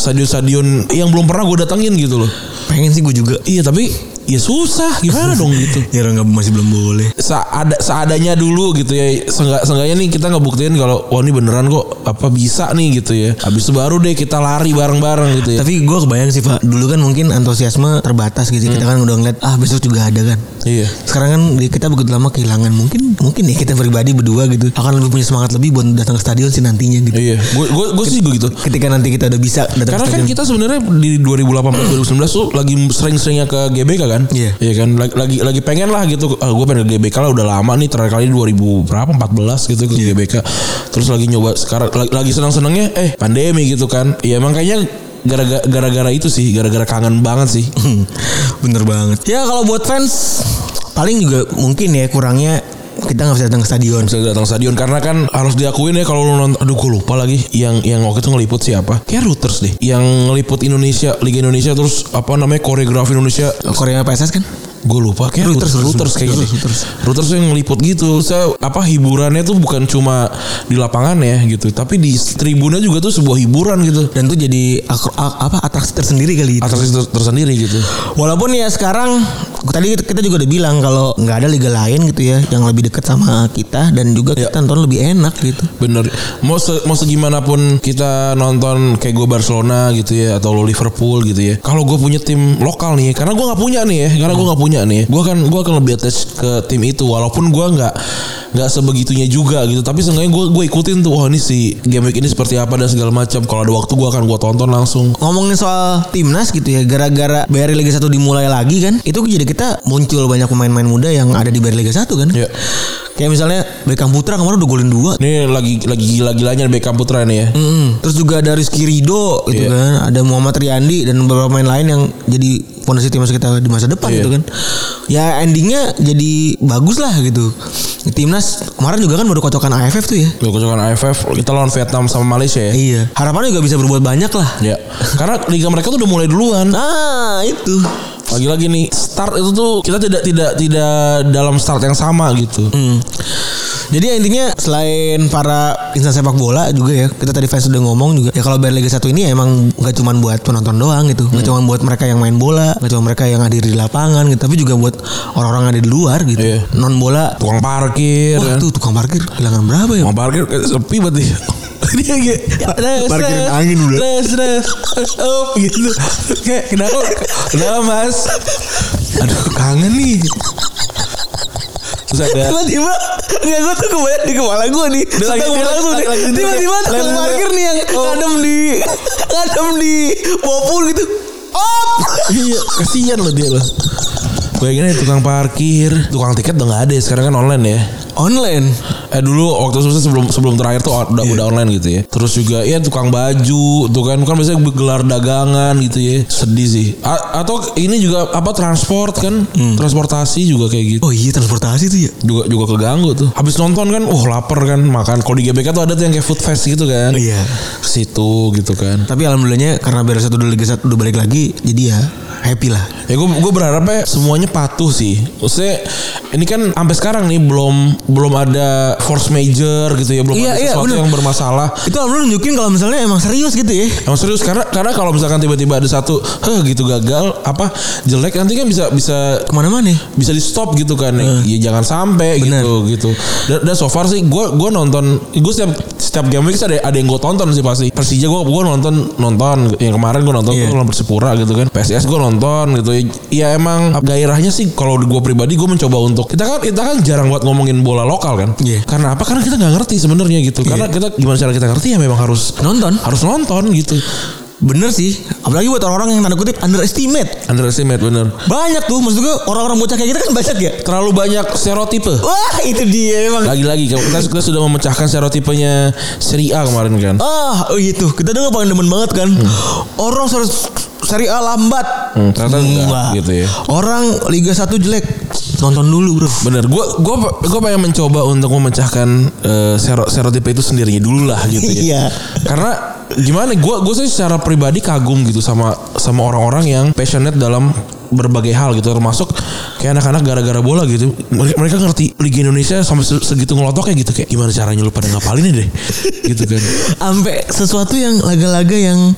Speaker 2: stadion-stadion yang belum pernah gue datangin gitu loh.
Speaker 3: Pengen sih gue juga
Speaker 2: Iya tapi ya susah gimana dong gitu.
Speaker 3: Ya orang nggak- masih belum boleh
Speaker 2: Seada, seadanya dulu gitu ya Seenggak, Seenggaknya nih kita ngebuktiin kalau Wah ini beneran kok Apa bisa nih gitu ya Habis itu baru deh kita lari bareng-bareng gitu ya
Speaker 3: Tapi gue kebayang sih Pak Dulu kan mungkin antusiasme terbatas gitu Kita kan udah ngeliat Ah besok juga ada kan
Speaker 2: Iya
Speaker 3: sekarang kan di- kita begitu lama kehilangan mungkin mungkin ya kita pribadi berdua gitu akan lebih punya semangat lebih buat datang ke stadion sih nantinya gitu
Speaker 2: Iya Gue sih juga gitu
Speaker 3: ketika nanti kita udah bisa datang
Speaker 2: Karena kan
Speaker 3: ke stadion
Speaker 2: kita sebenarnya di 2018 2019 tuh lagi sering-seringnya ke GBK kan?
Speaker 3: Iya.
Speaker 2: Iya kan lagi lagi, lagi pengen lah gitu. Ah, gue pengen ke GBK lah udah lama nih terakhir kali 2000 berapa 14 gitu ke GBK. Terus lagi nyoba sekarang lagi, lagi senang-senangnya eh pandemi gitu kan. Ya emang kayaknya gara-gara gara-gara itu sih, gara-gara kangen banget sih.
Speaker 3: bener banget ya kalau buat fans paling juga mungkin ya kurangnya kita nggak bisa datang ke stadion
Speaker 2: bisa datang stadion karena kan harus diakuin ya kalau lu nonton aduh gue lupa lagi yang yang waktu itu ngeliput siapa kayak Reuters deh yang ngeliput Indonesia Liga Indonesia terus apa namanya koreografi Indonesia
Speaker 3: Korea PSS kan
Speaker 2: gue lupa kayak Reuters
Speaker 3: Reuters, Reuters,
Speaker 2: Reuters, kayaknya deh.
Speaker 3: Reuters.
Speaker 2: Reuters, yang ngeliput gitu saya apa hiburannya tuh bukan cuma di lapangan ya gitu tapi di tribunnya juga tuh sebuah hiburan gitu
Speaker 3: dan tuh jadi akro- a- apa atraksi tersendiri kali itu.
Speaker 2: atraksi ter- tersendiri gitu
Speaker 3: Walaupun ya sekarang tadi kita juga udah bilang kalau nggak ada liga lain gitu ya yang lebih dekat sama kita dan juga
Speaker 2: Ya.
Speaker 3: kita nonton lebih enak gitu.
Speaker 2: bener mau se mau segimana pun kita nonton kayak gue Barcelona gitu ya atau lo Liverpool gitu ya kalau gue punya tim lokal nih karena gue nggak punya nih ya karena gue nggak punya nih gue kan gue akan lebih attach ke tim itu walaupun gue nggak nggak sebegitunya juga gitu tapi seenggaknya gue gue ikutin tuh wah ini si game week ini seperti apa dan segala macam kalau ada waktu gue akan gue tonton langsung
Speaker 3: ngomongin soal timnas gitu ya gara-gara BRI Liga 1 dimulai lagi kan itu jadi kita muncul banyak pemain-pemain muda yang ada di BRI Liga 1 kan
Speaker 2: Iya.
Speaker 3: kayak misalnya Beckham Putra kemarin udah golin dua
Speaker 2: ini lagi lagi gila-gilanya Beckham Putra nih ya
Speaker 3: Mm-mm. terus juga ada Rizky Rido
Speaker 2: Iya.
Speaker 3: gitu kan ada Muhammad Riyandi dan beberapa pemain lain yang jadi fondasi timnas kita di masa depan
Speaker 2: Iya.
Speaker 3: gitu kan ya endingnya jadi bagus lah gitu timnas kemarin juga kan baru kocokan AFF tuh ya
Speaker 2: Gue kocokan AFF kita lawan Vietnam sama Malaysia ya
Speaker 3: iya harapannya juga bisa berbuat banyak lah
Speaker 2: ya karena liga mereka tuh udah mulai duluan
Speaker 3: ah itu
Speaker 2: lagi-lagi nih start itu tuh kita tidak tidak tidak dalam start yang sama gitu
Speaker 3: Hmm. Jadi ya intinya selain para insan sepak bola juga ya kita tadi fans udah ngomong juga ya kalau BR Liga 1 ini ya emang nggak cuma buat penonton doang gitu nggak
Speaker 2: Hmm.
Speaker 3: cuma buat mereka yang main bola nggak cuma mereka yang hadir di lapangan gitu tapi juga buat orang-orang yang ada di luar gitu
Speaker 2: Iya.
Speaker 3: non bola
Speaker 2: tukang parkir
Speaker 3: wah
Speaker 2: kan.
Speaker 3: tuh tukang parkir kehilangan berapa ya
Speaker 2: tukang parkir kayak sepi berarti dia kayak
Speaker 3: Parkirin angin ya." udah.
Speaker 2: res res up gitu kayak kenapa kenapa mas aduh kangen nih terus ada
Speaker 3: tiba-tiba nggak gue tuh kebayang di kepala gue nih
Speaker 2: lagi-
Speaker 3: satu
Speaker 2: Iya. dia
Speaker 3: bola
Speaker 2: lagi-
Speaker 3: tuh nih.
Speaker 2: lagi- lagi-
Speaker 3: tiba-tiba
Speaker 2: lagi-
Speaker 3: tukang
Speaker 2: lagi-
Speaker 3: parkir nih yang
Speaker 2: Oh.
Speaker 3: adem di di ngadem di bopul gitu. Op.
Speaker 2: iya kasihan loh dia loh gue ingin tukang parkir tukang tiket udah nggak ada ya, sekarang kan online ya
Speaker 3: Online.
Speaker 2: Eh dulu waktu susah sebelum sebelum terakhir tuh udah, udah online gitu ya. Terus juga ya tukang baju, tuh kan kan biasanya gelar dagangan gitu ya. Sedih sih. A- atau ini juga apa transport kan, transportasi juga kayak gitu.
Speaker 3: Oh iya transportasi tuh ya.
Speaker 2: Juga juga keganggu tuh. Habis nonton kan, uh lapar kan makan. Kalau di GBK tuh ada tuh yang kayak food fest gitu kan.
Speaker 3: Iya.
Speaker 2: Ke situ gitu kan.
Speaker 3: Tapi alhamdulillahnya karena beres satu dulu liga satu udah balik lagi jadi ya happy lah.
Speaker 2: Ya gue gue berharapnya semuanya patuh sih. Maksudnya ini kan sampai sekarang nih belum belum ada force major gitu ya, belum
Speaker 3: Iya,
Speaker 2: ada
Speaker 3: iya,
Speaker 2: sesuatu
Speaker 3: bener.
Speaker 2: yang bermasalah.
Speaker 3: Itu alhamdulillah nunjukin kalau misalnya emang serius gitu ya.
Speaker 2: Emang serius karena karena kalau misalkan tiba-tiba ada satu heh gitu gagal apa jelek nanti kan bisa bisa
Speaker 3: Kemana-mana.
Speaker 2: bisa di stop gitu kan ya jangan sampai
Speaker 3: Bener.
Speaker 2: gitu gitu dan, dan so far sih gue gue nonton gue setiap setiap game week ada ada yang gue tonton sih pasti Persija gue gue nonton nonton yang kemarin gue nonton
Speaker 3: Iya.
Speaker 2: gue nonton Persipura gitu kan PSS gue nonton gitu ya, ya emang gairahnya sih kalau gue pribadi gue mencoba untuk kita kan kita kan jarang buat ngomongin bola lokal kan
Speaker 3: Iya.
Speaker 2: karena apa karena kita nggak ngerti sebenarnya gitu karena kita gimana cara kita ngerti ya memang harus
Speaker 3: Nonton.
Speaker 2: harus nonton gitu
Speaker 3: Bener sih. Apalagi buat orang-orang yang tanda kutip underestimate.
Speaker 2: Underestimate bener
Speaker 3: Banyak tuh maksud gue orang-orang bocah kayak kita kan banyak ya.
Speaker 2: Terlalu banyak stereotipe
Speaker 3: Wah itu dia emang.
Speaker 2: Lagi-lagi kita, kita sudah memecahkan stereotipenya Seri A kemarin kan
Speaker 3: Ah oh gitu. Kita dulu paling demen banget kan. Orang harus seri A lambat.
Speaker 2: Hmm, ternyata enggak,
Speaker 3: Wah.
Speaker 2: gitu ya.
Speaker 3: Orang Liga 1 jelek. Nonton dulu bro.
Speaker 2: Bener Gue gua, gua pengen mencoba untuk memecahkan eh, stero- stereotipe itu sendirinya dulu lah gitu ya
Speaker 3: Iya.
Speaker 2: Karena gimana gue gue sih secara pribadi kagum gitu sama sama orang-orang yang passionate dalam berbagai hal gitu termasuk kayak anak-anak gara-gara bola gitu mereka, mereka ngerti Liga Indonesia sampai se- segitu ngelotoknya gitu kayak gimana caranya lu pada ngapalin deh gitu kan
Speaker 3: Sampai sesuatu yang laga-laga yang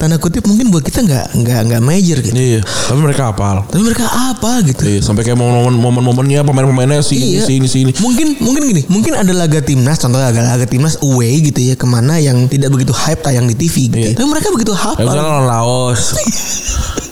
Speaker 3: tanda kutip mungkin buat kita nggak nggak nggak major gitu.
Speaker 2: iya tapi mereka apal
Speaker 3: Tapi mereka apa gitu?
Speaker 2: Iya, sampai kayak momen- momen-momennya pemain-pemainnya sini
Speaker 3: Iya.
Speaker 2: sini sini.
Speaker 3: Mungkin mungkin gini, mungkin ada laga timnas, contohnya laga laga timnas away gitu ya, kemana yang tidak begitu hype tayang di TV gitu.
Speaker 2: Iya.
Speaker 3: ya. Tapi mereka begitu
Speaker 2: Ya, misalnya
Speaker 3: hafal.
Speaker 2: lawan Laos.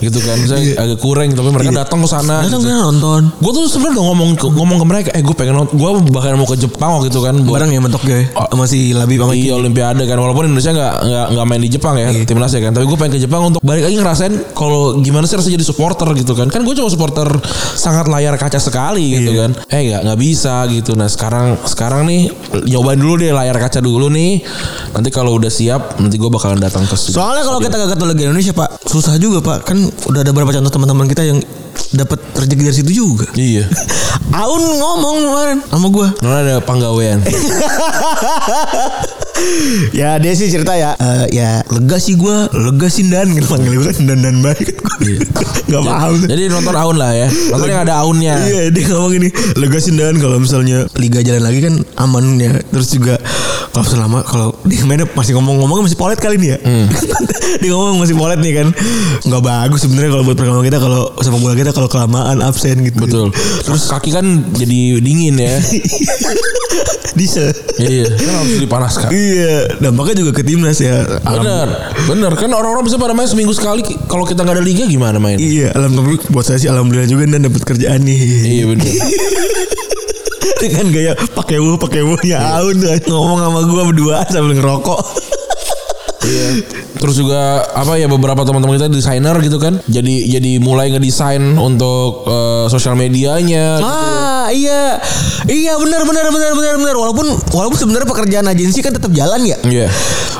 Speaker 2: gitu kan, misalnya agak kurang gitu, tapi mereka Iya. datang ke sana.
Speaker 3: Datang
Speaker 2: Gitu.
Speaker 3: sana nonton.
Speaker 2: Gue tuh sebenarnya udah ngomong ke, ngomong ke mereka, eh gue pengen nonton, gue bahkan mau ke Jepang waktu itu kan buat
Speaker 3: Barang ya mentoknya ya.
Speaker 2: Oh.
Speaker 3: Masih labi sama
Speaker 2: Iya Olimpiade kan walaupun Indonesia nggak nggak nggak main di Jepang ya timnasnya kan tapi gue pengen ke Jepang untuk balik lagi ngerasain kalau gimana sih rasanya jadi supporter gitu kan kan gue cuma supporter sangat layar kaca sekali gitu kan eh nggak nggak bisa gitu nah sekarang sekarang nih nyobain dulu deh layar kaca dulu nih nanti kalau udah siap nanti gue bakalan datang ke Iya. situ.
Speaker 3: Soalnya kalau kita kagak Liga Indonesia pak Susah juga pak Kan udah ada berapa contoh teman-teman kita yang dapat rezeki dari situ juga
Speaker 2: iya
Speaker 3: Aun ngomong kemarin sama gue
Speaker 2: Nona ada penggawean
Speaker 3: Ya dia sih cerita ya eh, Ya lega sih gue Lega sih Dan Gitu panggil gue kan Dan-dan baik
Speaker 2: Iya.
Speaker 3: Gak paham tuh.
Speaker 2: jadi nonton Aun lah ya nonton yang ada Aunnya
Speaker 3: Iya dia ngomong ini Lega sih Dan Kalau misalnya Liga jalan lagi kan aman ya Terus juga Kalau selama Kalau dia mainnya masih ngomong-ngomong Masih polet kali nih ya Dia ngomong masih polet nih kan Gak bagus sebenarnya Kalau buat perkembangan kita Kalau sepak bola kita Kalau kelamaan absen gitu
Speaker 2: betul terus kaki kan jadi dingin ya
Speaker 3: Bisa
Speaker 2: iya kan harus dipanaskan
Speaker 3: Iya Dampaknya juga ke timnas ya Alam-
Speaker 2: Bener, bener kan orang-orang bisa pada main seminggu sekali. Kalau kita nggak ada liga gimana main?
Speaker 3: Iya alam tapi buat saya sih alhamdulillah juga dan dapat kerjaan nih
Speaker 2: Iya bener.
Speaker 3: dengan gaya pakai wuh pakai wuh ya aun tuh, ngomong sama gua berdua sambil ngerokok
Speaker 2: Iya. Terus juga apa ya beberapa teman-teman kita desainer gitu kan. Jadi jadi mulai ngedesain untuk eh, sosial medianya.
Speaker 3: ah iya iya benar benar benar benar benar walaupun walaupun sebenarnya pekerjaan agensi kan tetap jalan ya
Speaker 2: Iya.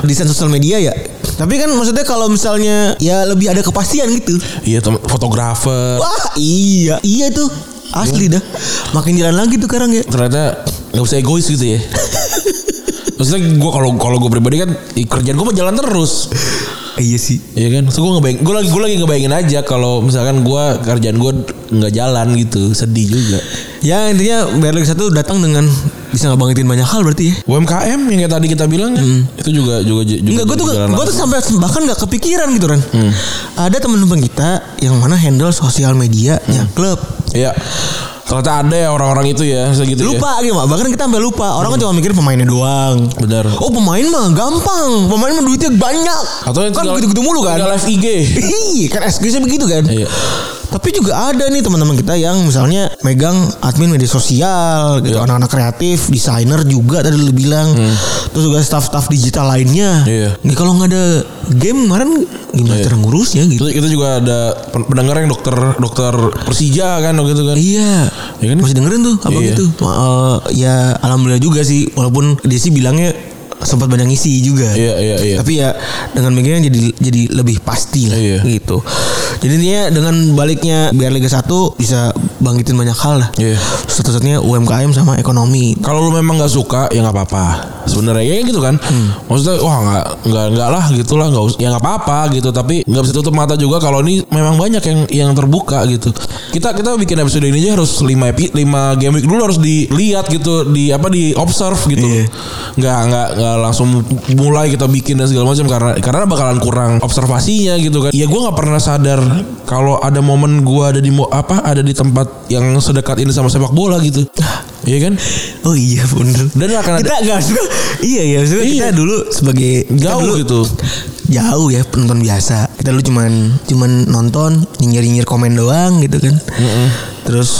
Speaker 3: desain sosial media ya tapi kan maksudnya kalau misalnya ya lebih ada kepastian gitu
Speaker 2: Iya, tem- fotografer.
Speaker 3: wah iya iya tuh asli dah makin jalan lagi tuh sekarang ya
Speaker 2: Ternyata nggak bisa egois gitu ya. Maksudnya gue kalau kalau gue pribadi kan i- kerjaan gue mah jalan terus,
Speaker 3: iya sih
Speaker 2: Iya kan? So gue ngebayang, gue lagi gue lagi ngebayangin aja kalau misalkan gue kerjaan gue nggak jalan gitu, sedih juga.
Speaker 3: ya intinya Berlin satu datang dengan bisa ngebangkitin banyak hal berarti ya
Speaker 2: UMKM yang kayak tadi kita bilang kan itu juga juga juga
Speaker 3: Enggak, gue tuh
Speaker 2: jalan
Speaker 3: gue tuh
Speaker 2: langsung.
Speaker 3: sampai bahkan nggak kepikiran gitu kan. Ada teman-teman kita yang mana handle sosial medianya klub.
Speaker 2: Iya. Ternyata ada ya orang-orang itu ya segitu ya.
Speaker 3: Lupa gitu, Mak. bahkan kita sampai lupa. Orang kan cuma mikir pemainnya doang.
Speaker 2: Benar.
Speaker 3: Oh pemain mah gampang, pemain mah duitnya banyak.
Speaker 2: Atau yang
Speaker 3: kan
Speaker 2: tinggal-
Speaker 3: gitu-gitu mulu kan.
Speaker 2: tinggal live IG.
Speaker 3: Iya, kan SG-nya begitu kan.
Speaker 2: Iya.
Speaker 3: Tapi juga ada nih teman-teman kita yang misalnya megang admin media sosial gitu,
Speaker 2: Iya.
Speaker 3: anak-anak kreatif, desainer juga tadi lu bilang. Terus juga staff-staff digital
Speaker 2: Hmm.
Speaker 3: lainnya.
Speaker 2: Iya.
Speaker 3: Nih kalau nggak ada game kemarin gimana cara ngurusnya gitu.
Speaker 2: Terus kita juga ada pen- pendengar yang dokter dokter Persija kan gitu kan.
Speaker 3: Iya,
Speaker 2: Ya kan?
Speaker 3: masih dengerin tuh abang
Speaker 2: Iya.
Speaker 3: itu. Ma- eh, ya alhamdulillah juga sih, walaupun dia sih bilangnya sempat banyak ngisi juga.
Speaker 2: Iya, iya, iya.
Speaker 3: Tapi ya dengan begini jadi jadi lebih pasti lah
Speaker 2: Iya.
Speaker 3: gitu. Jadi intinya dengan baliknya biar Liga 1 bisa bangkitin banyak hal lah.
Speaker 2: Iya.
Speaker 3: Satu-satunya UMKM sama ekonomi.
Speaker 2: Kalau lu memang nggak suka ya nggak apa-apa. Sebenarnya ya gitu kan. Maksudnya wah nggak nggak nggak lah gitulah nggak us- ya nggak apa-apa gitu. Tapi nggak bisa tutup mata juga kalau ini memang banyak yang yang terbuka gitu. Kita kita bikin episode ini aja harus 5 lima game week dulu harus dilihat gitu di apa di observe gitu.
Speaker 3: Iya.
Speaker 2: Nggak nggak nggak langsung mulai kita bikin dan segala macam karena karena bakalan kurang observasinya gitu kan. Ya gua nggak pernah sadar kalau ada momen gua ada di mo- apa ada di tempat yang sedekat ini sama sepak bola gitu. Iya kan?
Speaker 3: Oh iya bener.
Speaker 2: Dan akan ada-
Speaker 3: kita nggak suka. Iya ya maksudnya
Speaker 2: Iya.
Speaker 3: kita dulu sebagai kita
Speaker 2: jauh
Speaker 3: dulu
Speaker 2: gitu.
Speaker 3: jauh ya penonton biasa kita dulu cuman cuman nonton nyinyir nyinyir komen doang gitu kan terus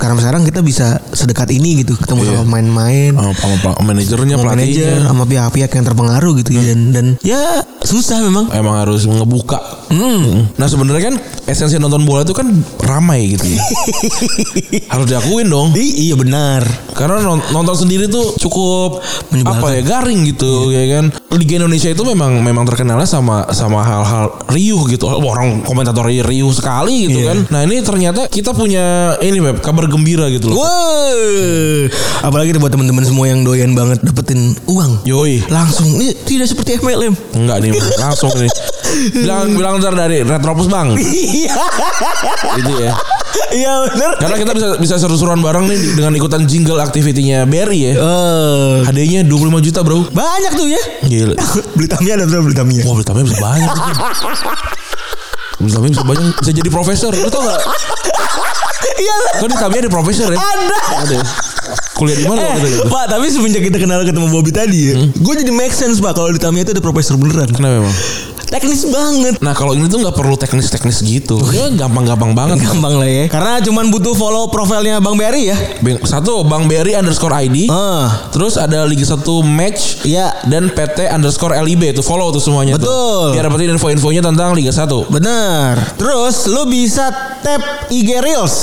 Speaker 3: karena sekarang kita bisa sedekat ini gitu ketemu sama pemain-pemain
Speaker 2: Sama, sama, pla- manajernya,
Speaker 3: sama manajer
Speaker 2: Iya. Oh. pelatihnya. Iya.
Speaker 3: sama pihak-pihak yang terpengaruh gitu ya. dan dan ya susah memang Hmm.
Speaker 2: Emang harus ngebuka. Nah sebenarnya kan esensi nonton bola itu kan ramai gitu ya. harus diakuin dong.
Speaker 3: I- iya benar
Speaker 2: Karena non- nonton sendiri tuh cukup
Speaker 3: Menyebalkan. Iya.
Speaker 2: apa ya garing gitu ya kan. Liga Indonesia itu memang memang terkenalnya sama sama hal-hal riuh gitu. Wah, Orang komentator riuh sekali gitu
Speaker 3: Iya.
Speaker 2: kan. Nah ini ternyata kita punya ini Beb, kabar gembira gitu loh.
Speaker 3: Wow. apalagi buat teman-teman semua yang doyan banget dapetin uang
Speaker 2: Yoi.
Speaker 3: langsung ini tidak seperti MLM
Speaker 2: Enggak nih langsung nih. Bilang bilang ntar dari Retropus Bang.
Speaker 3: iya
Speaker 2: Gitu ya.
Speaker 3: iya benar
Speaker 2: Karena kita bisa bisa seru-seruan bareng nih dengan ikutan jingle activity-nya Berry ya.
Speaker 3: Eh,
Speaker 2: Hadiahnya 25 juta, Bro.
Speaker 3: banyak tuh ya
Speaker 2: Gila.
Speaker 3: beli tamia ada berapa beli tamia
Speaker 2: Wah, Britanya bisa banyak. anjing. Britanya bisa banyak, bisa jadi profesor. Lu tau gak?
Speaker 3: iya
Speaker 2: Kan di Tamia ada profesor ya?
Speaker 3: ada Eh,
Speaker 2: Ada. ya? Kuliah di
Speaker 3: Iya,
Speaker 2: mana waktu itu?
Speaker 3: Pak, tapi semenjak kita kenal ketemu Bobby tadi ya, gue jadi make sense pak kalau di Tamiya itu ada profesor beneran.
Speaker 2: Kenapa emang?
Speaker 3: Teknis banget.
Speaker 2: Nah kalau ini tuh nggak perlu teknis-teknis gitu.
Speaker 3: Oh, iya.
Speaker 2: Ya gampang-gampang banget.
Speaker 3: Gampang lah ya. Karena cuman butuh follow profilnya Bang Berry ya.
Speaker 2: Bang- Satu Bang Berry underscore ID.
Speaker 3: Ah,
Speaker 2: Terus ada Liga 1 Match.
Speaker 3: Iya.
Speaker 2: Dan PT underscore LIB. Itu follow tuh semuanya tuh.
Speaker 3: Betul.
Speaker 2: Biar dapetin info-infonya tentang Liga 1.
Speaker 3: bener. Terus lu bisa tap IG Reels.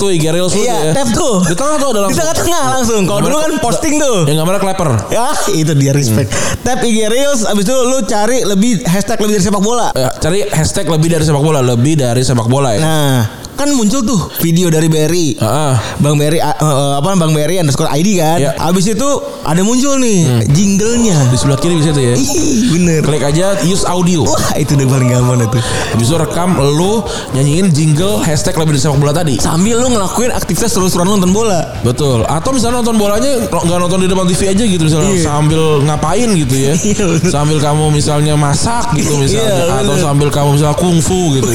Speaker 2: Tuh IG Reels lu tuh
Speaker 3: Iya,
Speaker 2: ya.
Speaker 3: tap tuh.
Speaker 2: Di tengah tuh ada
Speaker 3: Di
Speaker 2: langsung.
Speaker 3: tengah-tengah langsung. Kalau dulu kan posting tuh.
Speaker 2: Yang gambarnya klepper.
Speaker 3: Ya, itu dia respect. Tap IG Reels, abis itu lu cari lebih hashtag lebih dari sepak bola.
Speaker 2: Eh, cari hashtag lebih dari sepak bola, lebih dari sepak bola ya. Ah,
Speaker 3: Nah, kan muncul tuh video dari Berry.
Speaker 2: Heeh.
Speaker 3: Bang Berry eh, eh, apa Bang Berry underscore ID kan.
Speaker 2: Iya.
Speaker 3: Abis itu ada muncul nih jinglenya.
Speaker 2: Di sebelah kiri bisa tuh ya.
Speaker 3: Ih, Bener.
Speaker 2: Hmm. Klik aja use audio.
Speaker 3: Wah itu udah paling gampang itu.
Speaker 2: Habis itu rekam lu nyanyiin jingle hashtag lebih dari sepak bola tadi.
Speaker 3: Sambil lu ngelakuin aktivitas seru-seruan nonton bola.
Speaker 2: Betul. Atau misalnya nonton bolanya nggak nonton di depan TV aja gitu misalnya
Speaker 3: Iya.
Speaker 2: sambil ngapain gitu ya.
Speaker 3: Iya, bener.
Speaker 2: sambil kamu misalnya masak gitu misalnya
Speaker 3: Iya,
Speaker 2: atau
Speaker 3: bener.
Speaker 2: sambil kamu misalnya kungfu gitu.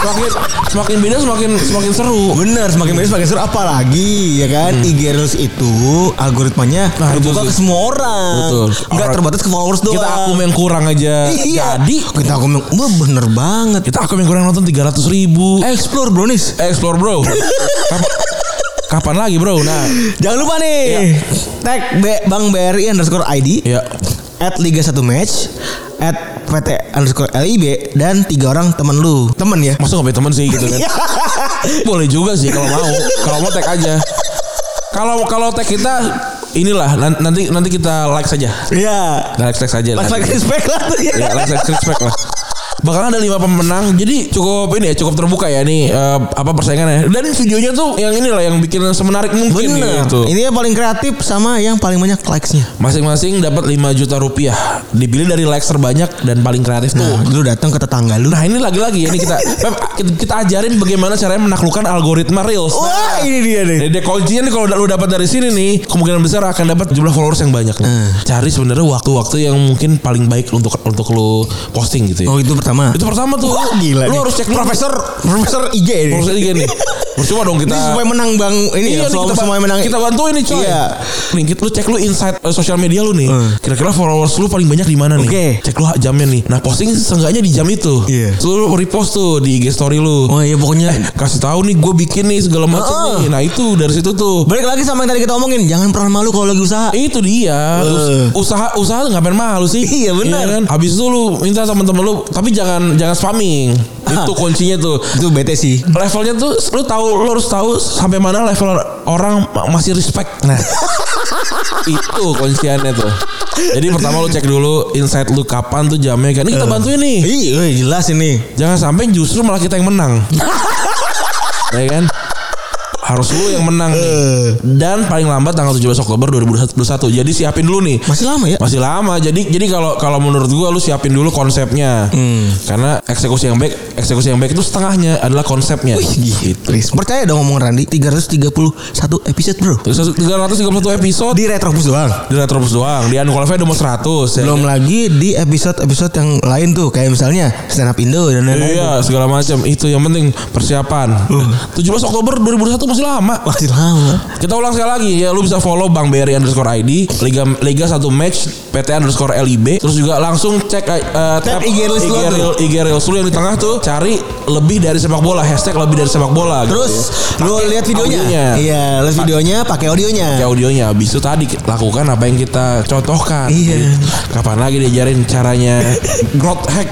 Speaker 2: semakin semakin beda semakin semakin seru.
Speaker 3: Bener, semakin banyak semakin seru apalagi ya kan IG Reels itu algoritmanya
Speaker 2: Hmm. Nah, itu
Speaker 3: terbuka
Speaker 2: sih.
Speaker 3: ke semua orang.
Speaker 2: Betul.
Speaker 3: Nggak
Speaker 2: Orang-
Speaker 3: terbatas ke followers doang.
Speaker 2: Kita akum yang kurang aja.
Speaker 3: Iya.
Speaker 2: Jadi
Speaker 3: kita aku bener banget.
Speaker 2: kita akum yang kurang nonton 300 ribu. Eh,
Speaker 3: Explore Brownies.
Speaker 2: Explore bro. Kapan, kapan lagi bro? Nah,
Speaker 3: Jangan lupa nih tag B- Bang BRI underscore ID
Speaker 2: ya
Speaker 3: at Liga 1 Match at PT underscore LIB dan tiga orang temen lu temen ya
Speaker 2: masa nggak punya temen sih gitu kan?
Speaker 3: Iya.
Speaker 2: Boleh juga sih kalau mau. Kalau mau tag aja. Kalau kalau tag kita inilah nan- nanti nanti kita like saja.
Speaker 3: Iya
Speaker 2: Like like saja.
Speaker 3: Pas lagi respect Iya. lah tuh ya
Speaker 2: Ya, like like respect lah. Bahkan ada lima pemenang, jadi cukup ini ya, cukup terbuka ya nih eh, apa persaingannya. Dan videonya tuh yang inilah yang bikin semenarik mungkin
Speaker 3: Bener Iya.
Speaker 2: gitu.
Speaker 3: Ini yang paling kreatif sama yang paling banyak likesnya
Speaker 2: Masing-masing dapat 5 juta rupiah. Dipilih dari likes terbanyak dan paling kreatif tuh.
Speaker 3: Nah lu datang ke tetangga lu
Speaker 2: Nah ini lagi-lagi ini kita Pep, kita- kita ajarin bagaimana caranya menaklukkan algoritma reels. Nah,
Speaker 3: Wah iya. ini dia nih
Speaker 2: Jadi kuncinya nih kalau lu dapat dari sini nih kemungkinan besar akan dapat jumlah followers yang banyak. nih.
Speaker 3: Hmm.
Speaker 2: Cari sebenarnya waktu-waktu yang mungkin paling baik untuk untuk lu posting gitu ya.
Speaker 3: Oh itu pertama
Speaker 2: Itu pertama tuh
Speaker 3: Wah, gila
Speaker 2: Lu
Speaker 3: nih.
Speaker 2: harus cek profesor
Speaker 3: Profesor Nah. IG ini
Speaker 2: Profesor IG nih Percuma dong kita.
Speaker 3: Ini supaya menang bang ini
Speaker 2: Iya,
Speaker 3: ya,
Speaker 2: nih,
Speaker 3: supaya
Speaker 2: kita,
Speaker 3: supaya menang.
Speaker 2: kita bantuin nih coy.
Speaker 3: Iya.
Speaker 2: Nih kita, lu cek lu insight eh, sosial media lu nih.
Speaker 3: Hmm.
Speaker 2: Kira-kira followers lu paling banyak di mana nih?
Speaker 3: Oke.
Speaker 2: Cek lu jamnya nih. Nah posting seenggaknya di jam itu.
Speaker 3: Iya.
Speaker 2: Terus lu repost tuh di IG story lu. Eh,
Speaker 3: Oh iya pokoknya
Speaker 2: Kasih tahu nih gue bikin nih segala macam
Speaker 3: Heeh.
Speaker 2: nih. Nah itu dari situ tuh.
Speaker 3: balik lagi sama yang tadi kita omongin jangan pernah malu kalau lagi usaha.
Speaker 2: Itu dia.
Speaker 3: Eh.
Speaker 2: Usaha usaha nggak main mahal sih.
Speaker 3: Iya, benar.
Speaker 2: kan? Habis itu lu minta teman-teman lu, tapi jangan jangan spamming. Itu kuncinya tuh.
Speaker 3: Itu bete sih.
Speaker 2: Levelnya tuh lu tahu lu harus tahu sampai mana level orang ma- masih respect. Nah. itu kunciannya tuh. Jadi pertama lu cek dulu insight lu kapan tuh jamnya kan. Ini kita bantuin nih.
Speaker 3: Iya eh, jelas ini.
Speaker 2: Jangan sampai justru malah kita yang menang. ya kan? Harus lu yang menang nih.
Speaker 3: Eh,
Speaker 2: Dan paling lambat tanggal 17 Oktober 2021. Jadi siapin dulu nih.
Speaker 3: Masih lama ya?
Speaker 2: Masih lama. Jadi jadi kalau kalau menurut gua lu siapin dulu konsepnya. Karena eksekusi yang baik, eksekusi yang baik itu setengahnya adalah konsepnya. gitu.
Speaker 3: Riz, percaya dong ngomong Randi 331 episode bro
Speaker 2: Terus 331 episode
Speaker 3: Di Retropus doang
Speaker 2: di Retropus doang. Di Unqualified udah mau 100. ya.
Speaker 3: Belum lagi di episode-episode yang lain tuh Kayak misalnya Stand Up Indo dan lain-lain
Speaker 2: Iya, segala macam. Itu yang penting persiapan. 17 Oktober 2021 masih lama.
Speaker 3: Masih lama
Speaker 2: Kita ulang sekali lagi ya lu bisa follow Bang BRI underscore ID Liga Liga 1 match PT underscore LIB Terus juga langsung cek eh, tab
Speaker 3: IG reels lu tuh.
Speaker 2: reel- IG reels lu yang di tengah tuh Cari lebih dari sepak bola Hashtag lebih dari sepak bola gitu
Speaker 3: Terus
Speaker 2: ya.
Speaker 3: lu lihat videonya
Speaker 2: audionya.
Speaker 3: Iya lihat videonya pakai audionya
Speaker 2: Kayak audionya Abis itu tadi lakukan apa yang kita contohkan
Speaker 3: Iya.
Speaker 2: Kapan lagi diajarin caranya Growth hack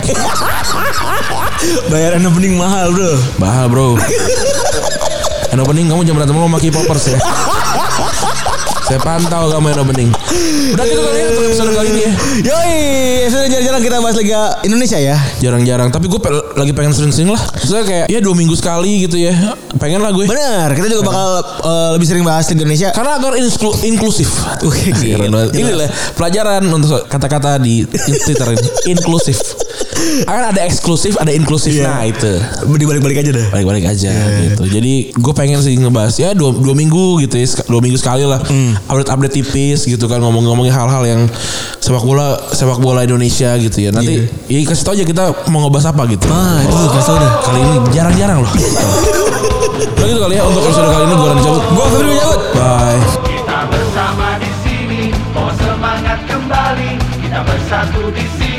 Speaker 3: Bayaran mending mahal bro
Speaker 2: Bahal bro And opening kamu jangan berantem lu sama K-popers ya Saya pantau kamu yang opening Udah gitu kali ya untuk episode kali ini ya
Speaker 3: Yoi Episode jalan-jalan kita bahas Liga Indonesia ya
Speaker 2: jarang-jarang tapi gue pe- lagi pengen sering-sering lah Maksudnya kayak ya dua minggu sekali gitu ya pengen lah gue
Speaker 3: Bener Kita juga bakal eh, lebih sering bahas Liga Indonesia
Speaker 2: karena agar inklu- inklusif
Speaker 3: Oke,
Speaker 2: Keren banget. ini lah pelajaran untuk kata-kata di Twitter ini inklusif akan ada eksklusif ada inklusif
Speaker 3: Iya.
Speaker 2: nah itu
Speaker 3: Dibalik-balik aja deh
Speaker 2: balik-balik aja gitu jadi gue pengen sih ngebahas ya dua, dua minggu gitu ya sek- dua minggu sekali lah update-update tipis gitu kan ngomong-ngomongin hal-hal yang sepak bola sepak bola Indonesia gitu ya nanti ya kasih tau aja kita mau ngebahas apa gitu
Speaker 3: Ah itu kasih tau deh
Speaker 2: Kali ini jarang-jarang loh. Udah gitu kali ya untuk episode kali ini gue Randy cabut. Gue Febri cabut. Bye.
Speaker 4: Kita bersama di sini, oh semangat kembali. Kita bersatu di sini.